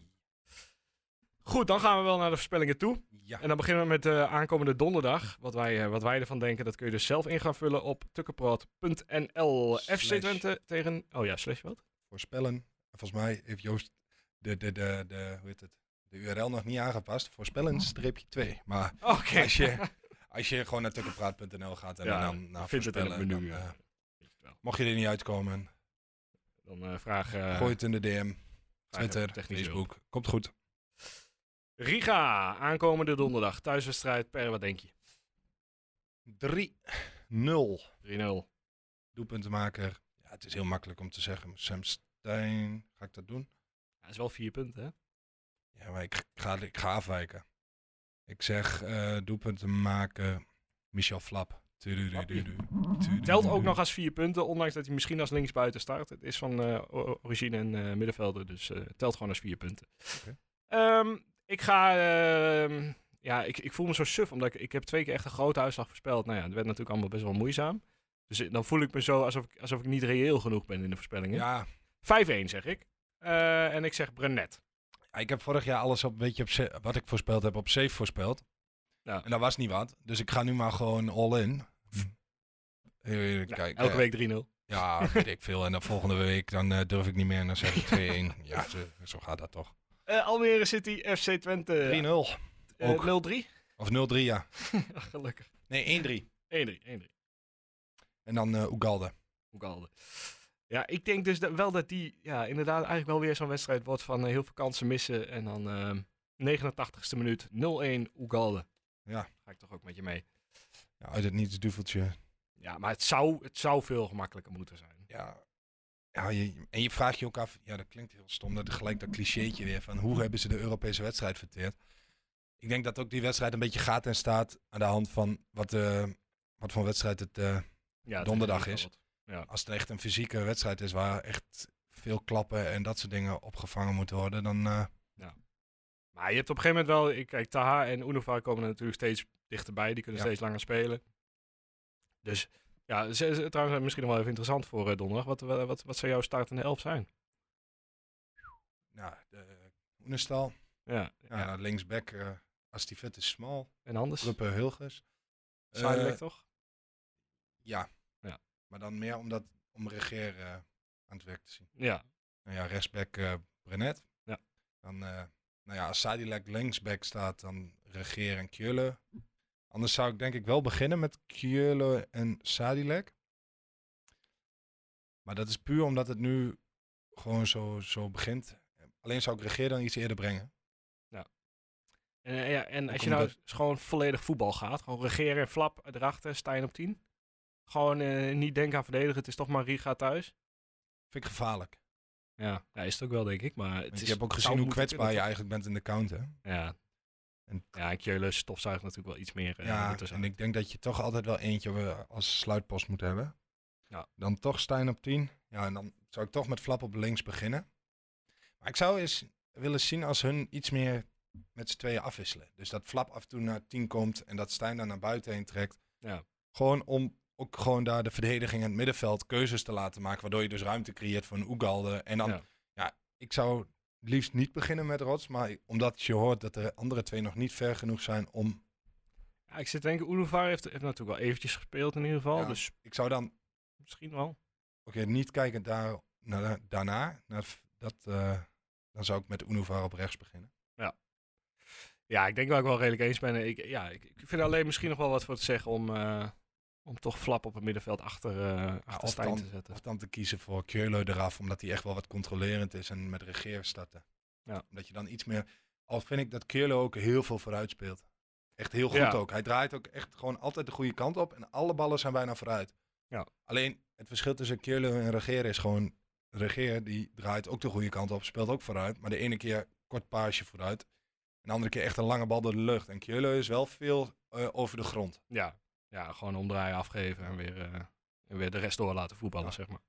Speaker 1: Goed, dan gaan we wel naar de voorspellingen toe.
Speaker 4: ja.
Speaker 1: En dan beginnen we met eh, aankomende donderdag. Wat wij, eh, wat wij ervan denken, dat kun je dus zelf in gaan vullen op tukkenproot.nl. FC
Speaker 4: Slash.
Speaker 1: Twente tegen... Oh ja, slash wat?
Speaker 4: voorspellen. En volgens mij heeft Joost de, de, de, de, hoe heet het, de URL nog niet aangepast. Voorspellen streepje 2. Maar
Speaker 1: Oké.
Speaker 4: als je, als je gewoon naar tukkenpraat.nl gaat en
Speaker 1: Ja,
Speaker 4: dan naar
Speaker 1: je vindt het in het
Speaker 4: voorspellen,
Speaker 1: menu,
Speaker 4: dan,
Speaker 1: ja.
Speaker 4: eh, mocht je er niet uitkomen,
Speaker 1: [LAUGHS] Dan eh, vraag... eh,
Speaker 4: gooi het in de DM,
Speaker 1: vraag
Speaker 4: Twitter,
Speaker 1: technische hulp.
Speaker 4: Facebook. Komt goed.
Speaker 1: Riga, aankomende donderdag. Thuiswedstrijd. Per, wat denk je?
Speaker 4: 3-0.
Speaker 1: 3-0.
Speaker 4: Doelpuntenmaker. Ja, het is heel makkelijk om te zeggen. Sam Stein, ga ik dat doen?
Speaker 1: Dat is wel vier punten, hè?
Speaker 4: Ja, maar ik ga, ik ga afwijken. Ik zeg eh doelpunten maken. Michel Flap. Tudurududu. Tudurududu.
Speaker 1: Telt ook nog als vier punten, ondanks dat hij misschien als linksbuiten start. Het is van eh, o- origine een eh, middenvelder, dus eh, telt gewoon als vier punten.
Speaker 4: Oké.
Speaker 1: Ehm, ik ga... ehm, ja, ik, ik voel me zo suf, omdat ik, ik heb twee keer echt een grote uitslag voorspeld. Nou ja, het werd natuurlijk allemaal best wel moeizaam. Dus eh, dan voel ik me zo alsof ik, alsof ik niet reëel genoeg ben in de voorspellingen.
Speaker 4: Ja,
Speaker 1: 5-1 zeg ik. Eh, en ik zeg Brenet.
Speaker 4: ik heb vorig jaar alles op, een beetje op sa- wat ik voorspeld heb op safe voorspeld.
Speaker 1: Ja.
Speaker 4: En dat was niet wat. Dus ik ga nu maar gewoon all in. Eh,
Speaker 1: Nou,
Speaker 4: kijk,
Speaker 1: elke
Speaker 4: eh,
Speaker 1: week 3-0.
Speaker 4: Ja, weet ik veel. En dan volgende week dan eh, durf ik niet meer. En dan zeg ik 2-1. ja, zo, zo gaat dat toch.
Speaker 1: Eh, Almere City, FC Twente.
Speaker 4: 3-0.
Speaker 1: Eh, [LAUGHS]
Speaker 4: Ook.
Speaker 1: 0-3?
Speaker 4: Of 0-3, ja.
Speaker 1: Ach, Gelukkig. 1-3,
Speaker 4: Nee, 1-3.
Speaker 1: 1-3.
Speaker 4: En dan eh Ugalde.
Speaker 1: Ook al. Ja, ik denk dus dat, wel dat die ja, inderdaad eigenlijk wel weer zo'n wedstrijd wordt van eh, heel veel kansen missen. En dan ehm 89ste minuut 0-1 Oegalde.
Speaker 4: Ja.
Speaker 1: Ga ik toch ook met je mee.
Speaker 4: Ja, uit het niets duveltje.
Speaker 1: Ja, maar het zou, het zou veel gemakkelijker moeten zijn.
Speaker 4: ja, ja je, en je vraagt je ook af, ja dat klinkt heel stom, dat gelijk dat clichétje weer van hoe hebben ze de Europese wedstrijd verteerd. Ik denk dat ook die wedstrijd een beetje gaat en staat aan de hand van wat, eh, wat voor wedstrijd het, eh,
Speaker 1: Ja, het
Speaker 4: Donderdag
Speaker 1: wel
Speaker 4: is.
Speaker 1: wat.
Speaker 4: als het echt een fysieke wedstrijd is waar echt veel klappen en dat soort dingen opgevangen moeten worden, dan eh,
Speaker 1: Maar je hebt op een gegeven moment wel, ik kijk, Taha en Unova komen er natuurlijk steeds dichterbij. Die kunnen
Speaker 4: Ja.
Speaker 1: steeds langer spelen. Dus ja, ze- ze- trouwens eh, misschien nog wel even interessant voor eh, donderdag. Wat, wat, wat, wat zou jouw start in de elf zijn?
Speaker 4: nou, de Oenestal,
Speaker 1: Ja,
Speaker 4: ja,
Speaker 1: ja.
Speaker 4: nou, linksback, eh, als die vet is, smal,
Speaker 1: en anders?
Speaker 4: Ruppe Hilgers. Eh,
Speaker 1: Zuidelijk toch?
Speaker 4: ja.
Speaker 1: Ja.
Speaker 4: maar dan meer om, dat, om regeer eh, aan het werk te zien.
Speaker 1: Ja,
Speaker 4: Nou ja, rechtsback eh Brenet.
Speaker 1: Ja.
Speaker 4: Dan, eh, nou ja, als Sadilek linksback staat, dan Regeer en Kjöle. Anders zou ik denk ik wel beginnen met Kjöle en Sadilek. Maar dat is puur omdat het nu gewoon zo, zo begint. Alleen zou ik Regeer dan iets eerder brengen.
Speaker 1: En, eh, ja, en
Speaker 4: Ook
Speaker 1: als je nou
Speaker 4: omdat-
Speaker 1: s- gewoon volledig voetbal gaat, gewoon regeren en flap erachter, Stijn op 10. Gewoon eh, niet denken aan verdedigen, het is toch maar Riga thuis.
Speaker 4: Vind ik gevaarlijk.
Speaker 1: Ja, ja is het ook wel, denk ik. Maar het
Speaker 4: Want
Speaker 1: is,
Speaker 4: je hebt ook
Speaker 1: zou
Speaker 4: gezien hoe
Speaker 1: moeten
Speaker 4: kwetsbaar je
Speaker 1: kunnen,
Speaker 4: eigenlijk bent in de counter.
Speaker 1: toch? Ja,
Speaker 4: En,
Speaker 1: Ja, Keulen stofzuigt natuurlijk wel iets meer. eh,
Speaker 4: ja,
Speaker 1: ertussen.
Speaker 4: en ik denk dat je toch altijd wel eentje eh, als sluitpost moet hebben.
Speaker 1: Ja.
Speaker 4: Dan toch Stijn op 10. Ja, en dan zou ik toch met Flap op links beginnen. Maar ik zou eens willen zien als hun iets meer met z'n tweeën afwisselen. Dus dat Flap af en toe naar 10 komt en dat Stijn dan naar buiten heen trekt.
Speaker 1: Ja.
Speaker 4: Gewoon om ook gewoon daar de verdediging en het middenveld keuzes te laten maken. Waardoor je dus ruimte creëert voor een Oegalde. En dan,
Speaker 1: Ja.
Speaker 4: ja. ik zou het liefst niet beginnen met Rots. Maar omdat je hoort dat de andere twee nog niet ver genoeg zijn om
Speaker 1: Ja, ik zit te denken, Unuvar heeft, heeft natuurlijk wel eventjes gespeeld in ieder geval.
Speaker 4: Ja.
Speaker 1: Dus
Speaker 4: ik zou dan,
Speaker 1: misschien wel.
Speaker 4: oké, niet kijken daar, naar, daarna, naar, dat, eh, dan zou ik met Unuvar op rechts beginnen.
Speaker 1: Ja, ik denk dat ik wel redelijk eens ben. Ik, ja, ik, ik vind alleen misschien nog wel wat voor te zeggen om, eh, om toch flap op het middenveld achter, eh achter
Speaker 4: of,
Speaker 1: Stijn
Speaker 4: dan,
Speaker 1: te zetten.
Speaker 4: of dan te kiezen voor Keurleu eraf, omdat hij echt wel wat controlerend is en met regeer starten.
Speaker 1: Ja.
Speaker 4: Omdat je dan iets meer, al vind ik dat Keurleu ook heel veel vooruit speelt. Echt heel goed
Speaker 1: Ja.
Speaker 4: ook. Hij draait ook echt gewoon altijd de goede kant op en alle ballen zijn bijna vooruit.
Speaker 1: Ja.
Speaker 4: Alleen het verschil tussen Keurleu en regeer is gewoon, regeer die draait ook de goede kant op, speelt ook vooruit. Maar de ene keer kort paasje vooruit En de andere keer echt een lange bal door de lucht. En Keulen is wel veel eh, over de
Speaker 1: [LAUGHS]
Speaker 4: grond.
Speaker 1: Ja. ja, gewoon omdraaien, afgeven en weer, eh, en weer de rest door laten voetballen,
Speaker 4: Ja.
Speaker 1: zeg maar.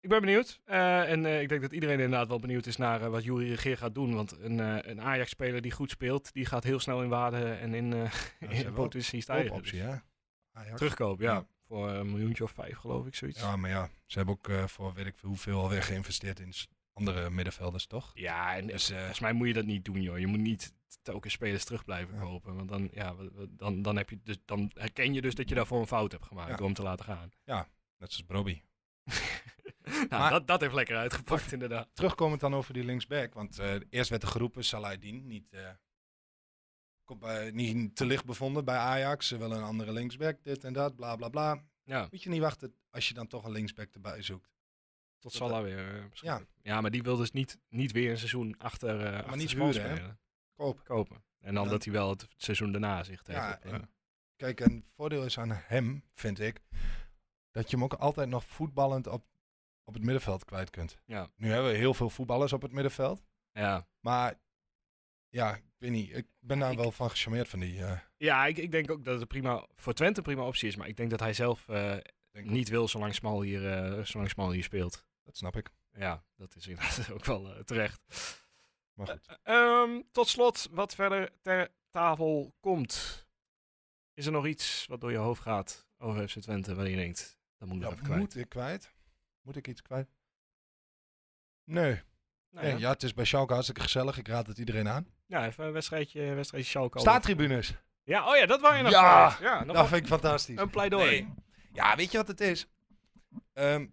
Speaker 1: Ik ben benieuwd. Eh, en eh, ik denk dat iedereen inderdaad wel benieuwd is naar eh, wat Jurie Regeer gaat doen. Want een, eh, een Ajax-speler die goed speelt, die gaat heel snel in waarde en in, eh
Speaker 4: Ja,
Speaker 1: [LAUGHS] in potentie stijgen.
Speaker 4: optie,
Speaker 1: Dus
Speaker 4: hè? Ajax.
Speaker 1: Terugkoop, ja.
Speaker 4: Ja.
Speaker 1: Voor een miljoentje of vijf, geloof ik, zoiets.
Speaker 4: Ja, maar ja, ze hebben ook eh, voor weet ik veel hoeveel alweer geïnvesteerd in s- andere middenvelders, toch?
Speaker 1: Ja, en
Speaker 4: Dus, eh,
Speaker 1: volgens mij moet je dat niet doen, joh. Je moet niet telkens spelers terug blijven
Speaker 4: Ja.
Speaker 1: kopen. Want dan, ja, wat- wat- dan, dan, heb je dus, dan herken je dus dat je daarvoor een fout hebt gemaakt
Speaker 4: Ja.
Speaker 1: door hem te laten gaan.
Speaker 4: Net zoals Broby.
Speaker 1: [LAUGHS] nou,
Speaker 4: Maar-
Speaker 1: dat, dat heeft lekker uitgepakt, inderdaad.
Speaker 4: Terugkomend dan over die linksback, want eh, eerst werd er geroepen Saladin niet, eh, komt bij, niet te licht bevonden bij Ajax. Ze willen een andere linksback, dit en dat, bla bla bla.
Speaker 1: Ja,
Speaker 4: Moet je niet wachten als je dan toch een linksback erbij zoekt.
Speaker 1: tot Salah weer. eh, misschien.
Speaker 4: Ja.
Speaker 1: ja, maar die wil dus niet, niet weer een seizoen achter, eh achter
Speaker 4: niet
Speaker 1: Smal
Speaker 4: huren, hè?
Speaker 1: spelen.
Speaker 4: Koop.
Speaker 1: Kopen. En dan
Speaker 4: Ja.
Speaker 1: dat hij wel het seizoen daarna zich tegen...
Speaker 4: Ja,
Speaker 1: op, eh,
Speaker 4: en- Kijk, een voordeel is aan hem, vind ik, dat je hem ook altijd nog voetballend op, op het middenveld kwijt kunt.
Speaker 1: Ja.
Speaker 4: Nu hebben we heel veel voetballers op het middenveld.
Speaker 1: ja.
Speaker 4: Maar ja, ik weet niet. Ik ben daar
Speaker 1: ik-
Speaker 4: wel van gecharmeerd van die. eh,
Speaker 1: ja ik, ik denk ook dat het prima, voor Twente een prima optie is. Maar ik denk dat hij zelf eh,
Speaker 4: denk ik.
Speaker 1: niet wil zolang Smal hier, eh, zolang Smal hier speelt.
Speaker 4: Dat snap ik.
Speaker 1: Ja, dat is inderdaad [LAUGHS] ook wel eh, terecht.
Speaker 4: Maar goed.
Speaker 1: Ehm, tot slot, wat verder ter tafel komt. Is er nog iets wat door je hoofd gaat over FC Twente waar je denkt, dat moet ik nog
Speaker 4: Ja,
Speaker 1: even kwijt?
Speaker 4: moet ik kwijt? Moet ik iets kwijt? Nee.
Speaker 1: Nou
Speaker 4: Nee, ja, het is bij Schalke hartstikke gezellig. Ik raad het iedereen aan.
Speaker 1: Ja, even een wedstrijdje, wedstrijdje Schalke.
Speaker 4: Staattribunes.
Speaker 1: Ja, oh ja, dat wou je nog.
Speaker 4: Ja, Nou,
Speaker 1: kwijt. ja nog
Speaker 4: Dat
Speaker 1: wel
Speaker 4: vind ik fantastisch.
Speaker 1: een pleidooi.
Speaker 4: Nee. Ja, weet je wat het is? Ehm,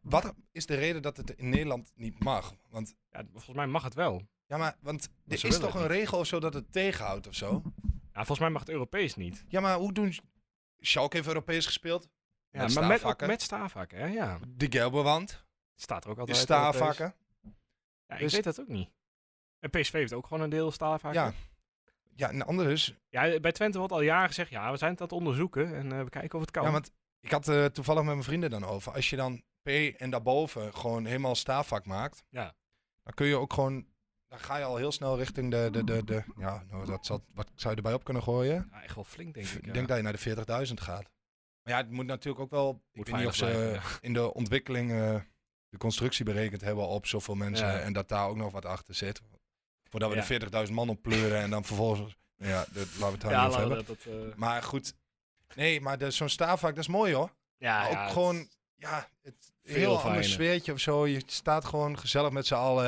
Speaker 4: wat is de reden dat het in Nederland niet mag? Want
Speaker 1: Ja, volgens mij mag het wel.
Speaker 4: Ja, maar want er
Speaker 1: ze
Speaker 4: is
Speaker 1: willen
Speaker 4: toch
Speaker 1: het
Speaker 4: een regel of zo dat het tegenhoudt of zo?
Speaker 1: Ja, volgens mij mag het Europees niet.
Speaker 4: Ja, maar hoe doen... Schalke heeft Europees gespeeld.
Speaker 1: Ja,
Speaker 4: Met
Speaker 1: maar met, ook
Speaker 4: staafhakken.
Speaker 1: met staafhakken, hè? ja.
Speaker 4: De Gelbewand
Speaker 1: Staat er ook altijd
Speaker 4: is
Speaker 1: Europees.
Speaker 4: staafhakken.
Speaker 1: Ja, ik
Speaker 4: Dus-
Speaker 1: weet dat ook niet. En PSV heeft ook gewoon een deel staafhakken.
Speaker 4: Ja. Ja, en de andere is...
Speaker 1: Ja, bij Twente wordt al jaren gezegd, ja, we zijn het aan het onderzoeken en eh, we kijken of het kan.
Speaker 4: Ja, want ik had eh, toevallig met mijn vrienden dan over. Als je dan P en daarboven gewoon helemaal staafvak maakt...
Speaker 1: Ja.
Speaker 4: Dan kun je ook gewoon... Dan ga je al heel snel richting de... de, de, de ja, nou, dat zat, wat zou je erbij op kunnen gooien?
Speaker 1: Ja, echt wel flink, denk
Speaker 4: Ik
Speaker 1: ik.
Speaker 4: denk,
Speaker 1: ja.
Speaker 4: dat je naar de 40.000 gaat. Maar ja, het moet natuurlijk ook wel... ik weet niet
Speaker 1: veilig
Speaker 4: of ze
Speaker 1: blijven, ja.
Speaker 4: in de ontwikkeling eh, de constructie berekend hebben op zoveel mensen.
Speaker 1: Ja.
Speaker 4: En dat daar ook nog wat achter zit. Voordat we
Speaker 1: Ja. de
Speaker 4: de 40.000 man op pleuren en dan vervolgens... Ja, dat, laten we het daar
Speaker 1: Ja,
Speaker 4: niet
Speaker 1: laten
Speaker 4: over
Speaker 1: we
Speaker 4: hebben.
Speaker 1: dat... dat, eh,
Speaker 4: Maar goed. Nee, maar de- zo'n staafvak, dat is mooi hoor.
Speaker 1: ja,
Speaker 4: Maar ook
Speaker 1: Ah, ja, het-
Speaker 4: gewoon, ja, het
Speaker 1: Veel
Speaker 4: heel ander
Speaker 1: fijner.
Speaker 4: sfeertje of zo. Je staat gewoon gezellig met z'n allen.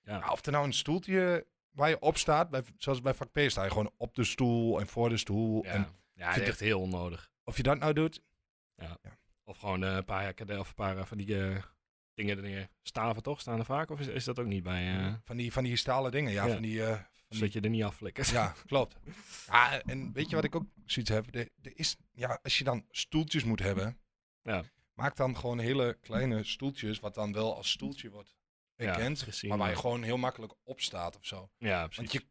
Speaker 1: Ja.
Speaker 4: Ja, of er nou een stoeltje waar je op staat, bij, zoals bij vak P sta je gewoon op de stoel en voor de stoel.
Speaker 1: Ja,
Speaker 4: En
Speaker 1: ja het is
Speaker 4: vind
Speaker 1: echt heel onnodig.
Speaker 4: of je dat nou doet,
Speaker 1: Of gewoon eh, een paar hekken of een paar eh, van die eh, dingen er neer. Staven toch? Staan er vaak? Of is, is dat ook niet bij? eh,
Speaker 4: van die, van die stalen dingen, ja,
Speaker 1: Ja.
Speaker 4: van die... eh, van die
Speaker 1: zodat je er niet afflikkert. [LAUGHS]
Speaker 4: Ja, klopt. Ja, en weet je wat ik ook zoiets heb? Er, er is, ja, als je dan stoeltjes moet hebben,
Speaker 1: Ja.
Speaker 4: maak dan gewoon hele kleine stoeltjes, wat dan wel als stoeltje wordt
Speaker 1: Ja,
Speaker 4: herkend,
Speaker 1: gezien,
Speaker 4: maar waar je
Speaker 1: ja.
Speaker 4: gewoon heel makkelijk op staat of zo.
Speaker 1: ja
Speaker 4: Want
Speaker 1: precies.
Speaker 4: je,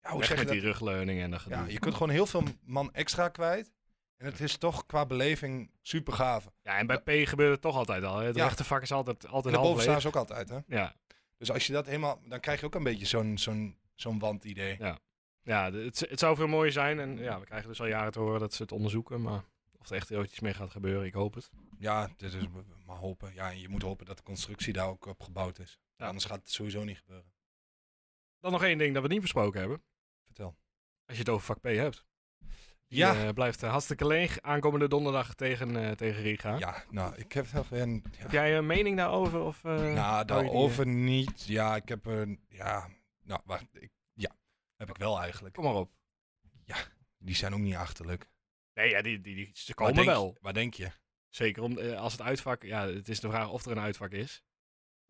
Speaker 4: ja, hoe
Speaker 1: Weg
Speaker 4: zeg je
Speaker 1: met
Speaker 4: dat?
Speaker 1: die rugleuning en dat
Speaker 4: Ja,
Speaker 1: gedoe. Ja,
Speaker 4: je kunt gewoon heel veel man extra kwijt. En het is toch qua beleving super gaaf.
Speaker 1: en bij P gebeurt het toch altijd al. hè. Het
Speaker 4: Ja.
Speaker 1: rechtervak is altijd,
Speaker 4: En
Speaker 1: altijd half
Speaker 4: daarboven staan
Speaker 1: leeg.
Speaker 4: ze ook altijd, hè?
Speaker 1: Ja,
Speaker 4: Dus als je dat helemaal, dan krijg je ook een beetje zo'n zo'n zo'n wandidee.
Speaker 1: Ja. Ja, de- het, het zou veel mooier zijn. En ja, we krijgen dus al jaren te horen dat ze het onderzoeken. Maar of er echt ooit iets mee gaat gebeuren, ik hoop het.
Speaker 4: Ja, dit is m- maar hopen. Ja, en je moet hopen dat de constructie daar ook op gebouwd is.
Speaker 1: Ja.
Speaker 4: Anders gaat het sowieso niet gebeuren.
Speaker 1: Dan nog één ding dat we niet besproken hebben.
Speaker 4: Vertel.
Speaker 1: Als je het over vak P hebt. Die,
Speaker 4: Ja,
Speaker 1: eh, blijft eh, hartstikke leeg aankomende donderdag tegen, eh, tegen Riga.
Speaker 4: ja nou, ik heb daar geen... Ja.
Speaker 1: Heb jij een mening daarover? Of, eh, hou
Speaker 4: Nou,
Speaker 1: je die,
Speaker 4: daarover niet. Ja, ik heb een... Ja, nou, wacht. Ik, ja, heb ik wel
Speaker 1: eh,
Speaker 4: eigenlijk.
Speaker 1: kom maar op.
Speaker 4: Die zijn ook niet achterlijk.
Speaker 1: Nee, ja, die, die, die, ze
Speaker 4: Waar
Speaker 1: komen
Speaker 4: denk-
Speaker 1: wel.
Speaker 4: Waar denk je?
Speaker 1: Zeker om, eh, als het uitvak... Ja, het is de vraag of er een uitvak is.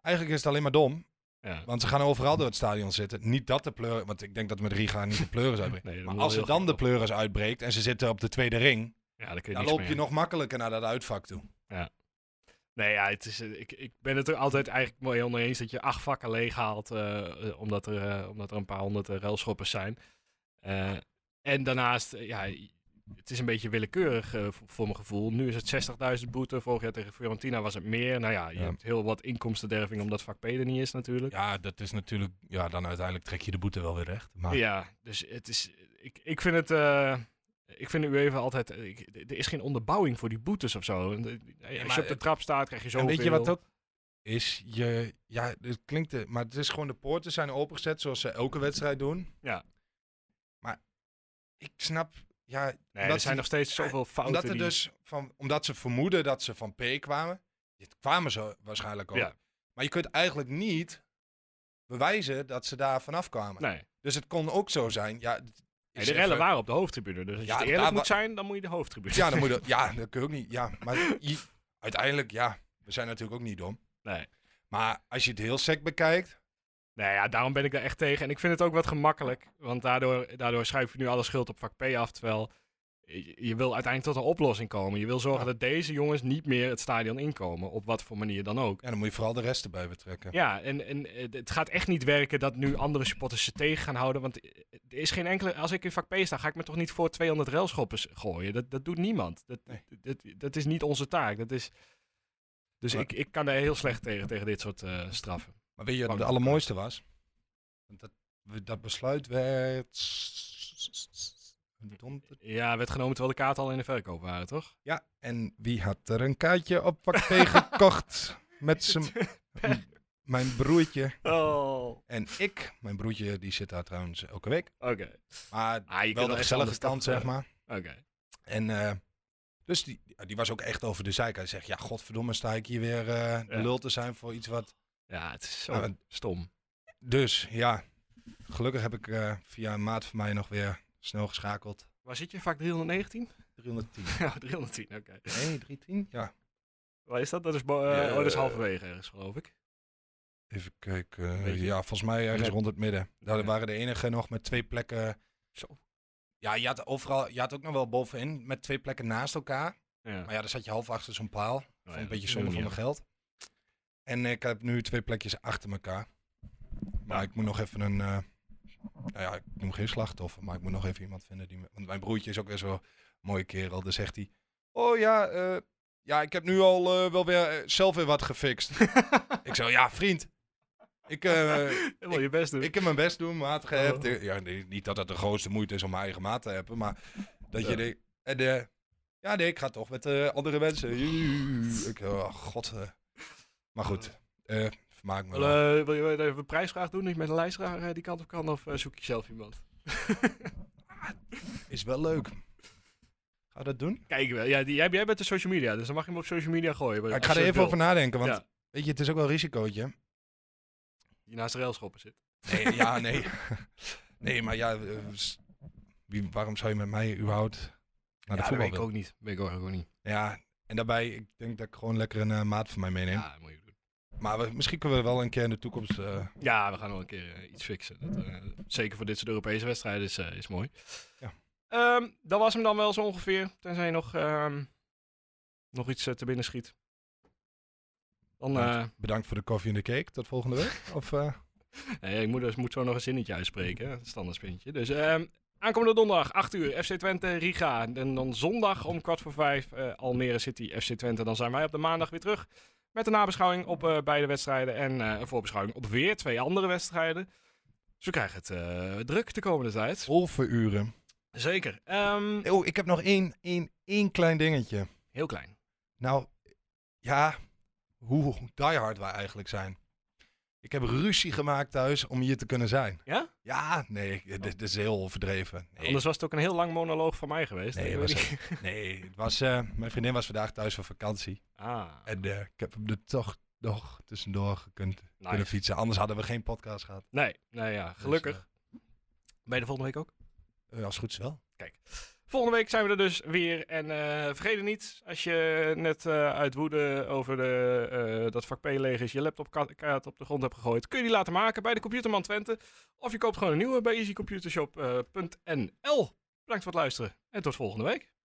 Speaker 4: Eigenlijk is het alleen maar dom.
Speaker 1: Ja.
Speaker 4: Want ze gaan overal door het stadion zitten. Niet dat de pleuren... Want ik denk dat met Riga niet de
Speaker 1: [LAUGHS]
Speaker 4: pleuris uitbreekt.
Speaker 1: Nee, dat
Speaker 4: maar
Speaker 1: moet
Speaker 4: als
Speaker 1: wel
Speaker 4: er
Speaker 1: heel
Speaker 4: dan de
Speaker 1: goed
Speaker 4: pleuris uitbreekt en ze zitten op de tweede ring...
Speaker 1: Ja, dan kun je
Speaker 4: Dan
Speaker 1: niks
Speaker 4: loop
Speaker 1: meer.
Speaker 4: je nog makkelijker naar dat uitvak toe.
Speaker 1: Nee, ja, het is, eh, ik, ik ben het er altijd eigenlijk mooi onder eens dat je acht vakken leeghaalt. eh, eh, omdat, er, eh, omdat er een paar honderd eh, railschoppers zijn. Eh, en daarnaast, eh, ja, het is een beetje willekeurig eh, voor, voor mijn gevoel. Nu is het 60.000 boete. Vorig jaar tegen Fiorentina was het meer. Nou ja, je
Speaker 4: Ja.
Speaker 1: hebt heel wat inkomstenderving omdat vak P er niet is natuurlijk.
Speaker 4: Ja, dat is natuurlijk. Ja, dan uiteindelijk trek je de boete wel weer recht. Maar
Speaker 1: Ja, dus het is. Ik, ik vind het. eh, ik vind u even altijd. eh, ik- er is geen onderbouwing voor die boetes of zo. En, eh, Als
Speaker 4: maar
Speaker 1: je op de
Speaker 4: het-
Speaker 1: trap staat, krijg je
Speaker 4: en
Speaker 1: zoveel.
Speaker 4: weet je wat ook is? Je, ja, het klinkt. eh, Maar het is gewoon de poorten zijn opengezet zoals ze elke wedstrijd doen.
Speaker 1: Ja.
Speaker 4: Maar ik snap. Ja,
Speaker 1: Nee,
Speaker 4: omdat
Speaker 1: er zijn
Speaker 4: ze-
Speaker 1: nog steeds zoveel fouten.
Speaker 4: omdat, er
Speaker 1: die-
Speaker 4: dus van, omdat ze vermoeden dat ze van P kwamen. Dit kwamen ze waarschijnlijk ook.
Speaker 1: Ja.
Speaker 4: Maar je kunt eigenlijk niet bewijzen dat ze daar vanaf kwamen.
Speaker 1: Nee.
Speaker 4: Dus het kon ook zo zijn. Ja, het
Speaker 1: Nee,
Speaker 4: is
Speaker 1: Nou. de rellen
Speaker 4: even-
Speaker 1: waren op de hoofdtribune. Dus als
Speaker 4: Ja,
Speaker 1: je
Speaker 4: daar
Speaker 1: eerlijk moet
Speaker 4: wa-
Speaker 1: zijn, dan moet je de hoofdtribune. [LAUGHS]
Speaker 4: Ja, dan moet je, ja, dat kun je ook niet. Ja, maar je- uiteindelijk, ja, we zijn natuurlijk ook niet dom.
Speaker 1: Nee.
Speaker 4: Maar als je het heel sec bekijkt,
Speaker 1: Nou ja, daarom ben ik daar echt tegen. En ik vind het ook wat gemakkelijk. Want daardoor, daardoor schuif je nu alle schuld op vak P af. Terwijl je, je wil uiteindelijk tot een oplossing komen. Je wil zorgen dat deze jongens niet meer het stadion inkomen. Op wat voor manier dan ook.
Speaker 4: ja, dan moet je vooral de rest erbij betrekken.
Speaker 1: Ja, en, en eh, het gaat echt niet werken dat nu andere supporters ze tegen gaan houden. Want eh, er is geen enkele. Als ik in vak P sta, ga ik me toch niet voor 200 railschoppers gooien. Dat, dat doet niemand. Dat,
Speaker 4: Nee.
Speaker 1: dat, dat is niet onze taak. Dat is. Dus
Speaker 4: Maar-
Speaker 1: ik, ik kan daar heel slecht tegen, tegen dit soort eh, straffen.
Speaker 4: Maar weet je wat het allermooiste was? Dat, dat besluit werd... donder-
Speaker 1: Ja, werd genomen terwijl de kaarten al in de verkoop waren, toch?
Speaker 4: Ja, en wie had er een kaartje op Pakpee gekocht?
Speaker 1: [LAUGHS]
Speaker 4: Met zijn... Mijn broertje.
Speaker 1: Oh, oké.
Speaker 4: En ik, mijn broertje, die zit daar trouwens elke week. Maar
Speaker 1: Ah,
Speaker 4: wel de gezellige kant,
Speaker 1: eh?
Speaker 4: zeg maar.
Speaker 1: Oké.
Speaker 4: En eh, dus die, die was ook echt over de zeik. Hij zegt, ja, godverdomme sta ik hier weer eh, de
Speaker 1: Ja.
Speaker 4: lul te zijn voor iets wat...
Speaker 1: Ja, het is zo
Speaker 4: Nou, en-
Speaker 1: stom.
Speaker 4: Dus ja, gelukkig heb ik eh, via een maat van mij nog weer snel geschakeld.
Speaker 1: Waar zit je? Vak 319?
Speaker 4: 310.
Speaker 1: [LAUGHS] Ja, 310, oké.
Speaker 4: Nee, 310? Ja.
Speaker 1: Waar is dat? Dat is, bo- eh,
Speaker 4: Ja,
Speaker 1: oh, dat is
Speaker 4: eh,
Speaker 1: halverwege ergens, geloof ik.
Speaker 4: Even kijken. eh,
Speaker 1: Weet je?
Speaker 4: ja, volgens mij ergens
Speaker 1: Nee.
Speaker 4: rond het midden. Daar
Speaker 1: Ja.
Speaker 4: waren de enige nog met twee plekken...
Speaker 1: Zo.
Speaker 4: Ja, je had overal, je had ook nog wel bovenin met twee plekken naast elkaar.
Speaker 1: Ja. Oh
Speaker 4: Maar ja, dan zat je half achter zo'n paal.
Speaker 1: ja,
Speaker 4: Vond ik een
Speaker 1: dat
Speaker 4: beetje
Speaker 1: is
Speaker 4: zonde
Speaker 1: ook
Speaker 4: van
Speaker 1: niet
Speaker 4: mijn geld. En ik heb nu twee plekjes achter elkaar. Maar
Speaker 1: Ja.
Speaker 4: ik moet nog even een... eh, nou ja, ik noem geen slachtoffer, maar ik moet nog even iemand vinden die... me- Want mijn broertje is ook weer zo'n mooie kerel. Dan zegt hij... Oh ja, eh, ja, ik heb nu al eh, wel weer eh, zelf weer wat gefixt. [LAUGHS] ik zo, ja, vriend. Ik, eh,
Speaker 1: [LAUGHS] Wil je best doen.
Speaker 4: ik heb mijn best doen, maat gehebt.
Speaker 1: Oh.
Speaker 4: Ja, nee, niet dat dat de grootste moeite is om mijn eigen maat te hebben, maar dat
Speaker 1: Ja.
Speaker 4: je denkt... En, eh, ja, nee, ik ga toch met eh, andere mensen. Ik, oh, god. eh. Maar goed, eh, vermaak me
Speaker 1: Wil,
Speaker 4: wel.
Speaker 1: eh, wil je even een prijsvraag doen? Dat je met een lijstvraag eh, die kant op kan? Of eh, zoek je zelf iemand? [LAUGHS]
Speaker 4: Is wel leuk. Ga dat doen?
Speaker 1: Kijk wel. Ja, die, jij, jij bent de social media, dus dan mag je hem op social media gooien.
Speaker 4: Ja,
Speaker 1: als
Speaker 4: ik ga
Speaker 1: je het
Speaker 4: er even
Speaker 1: wil.
Speaker 4: over nadenken, want
Speaker 1: Ja,
Speaker 4: weet je, het is ook wel een risicootje.
Speaker 1: die naast de railschoppen zit.
Speaker 4: [LAUGHS] Nee, ja, nee. Nee, maar ja, eh, s- wie, waarom zou je met mij überhaupt naar de
Speaker 1: ja, dat
Speaker 4: voetbal
Speaker 1: weet ik
Speaker 4: willen?
Speaker 1: ook niet. Weet ik ook niet.
Speaker 4: Ja, en daarbij, ik denk dat ik gewoon lekker een eh, maat van mij meeneem.
Speaker 1: Ja, dat moet je doen.
Speaker 4: Maar we- misschien kunnen we wel een keer in de toekomst. eh,
Speaker 1: Ja, we gaan wel een keer eh, iets fixen. Dat, eh, zeker voor dit soort Europese wedstrijden is, eh, is mooi.
Speaker 4: Ja.
Speaker 1: Ehm, dat was hem dan wel zo ongeveer. Tenzij je nog, ehm, nog iets eh, te binnen schiet. Dan, eh,
Speaker 4: bedankt voor de koffie en de cake. Tot volgende
Speaker 1: [LAUGHS]
Speaker 4: week. Of, eh,
Speaker 1: Nee, ik moet, dus- moet zo nog een zinnetje uitspreken. hè. Standaard spinnetje. Dus ehm, aankomende donderdag, 8 uur, FC Twente, Riga. En dan zondag om kwart voor vijf, eh, Almere City, FC Twente. Dan zijn wij op de maandag weer terug met een nabeschouwing op eh, beide wedstrijden. En eh, een voorbeschouwing op weer twee andere wedstrijden. Dus we krijgen het eh, druk de komende tijd.
Speaker 4: Wolvenuren.
Speaker 1: Zeker. Ehm,
Speaker 4: Oh, ik heb nog één, één, één klein dingetje.
Speaker 1: heel klein.
Speaker 4: Nou, ja, hoe diehard wij eigenlijk zijn. Ik heb ruzie gemaakt thuis om hier te kunnen zijn.
Speaker 1: Ja? Oh.
Speaker 4: Ja, nee, ik- dit, dit is heel overdreven. Nee,
Speaker 1: Anders was het ook een heel lang monoloog van mij geweest.
Speaker 4: Nee,
Speaker 1: Ik
Speaker 4: was
Speaker 1: weet niet.
Speaker 4: [LAUGHS] nee het was, eh, mijn vriendin was vandaag thuis van vakantie.
Speaker 1: Ah,
Speaker 4: En eh, ik heb hem er toch nog tussendoor gekund, kunnen
Speaker 1: nice.
Speaker 4: fietsen. Anders hadden we geen podcast gehad.
Speaker 1: Nee, nou ja,
Speaker 4: Dus,
Speaker 1: gelukkig. Bij de volgende week ook.
Speaker 4: eh, eh, als het goed is wel.
Speaker 1: Volgende week zijn we er dus weer. En eh, vergeet het niet, als je net eh, uit woede over de, eh, dat vak P leeg is, je laptopkaart op de grond hebt gegooid, kun je die laten maken bij de Computerman Twente. eh, Of je koopt gewoon een nieuwe bij easycomputershop.nl. Bedankt voor het luisteren en tot volgende week.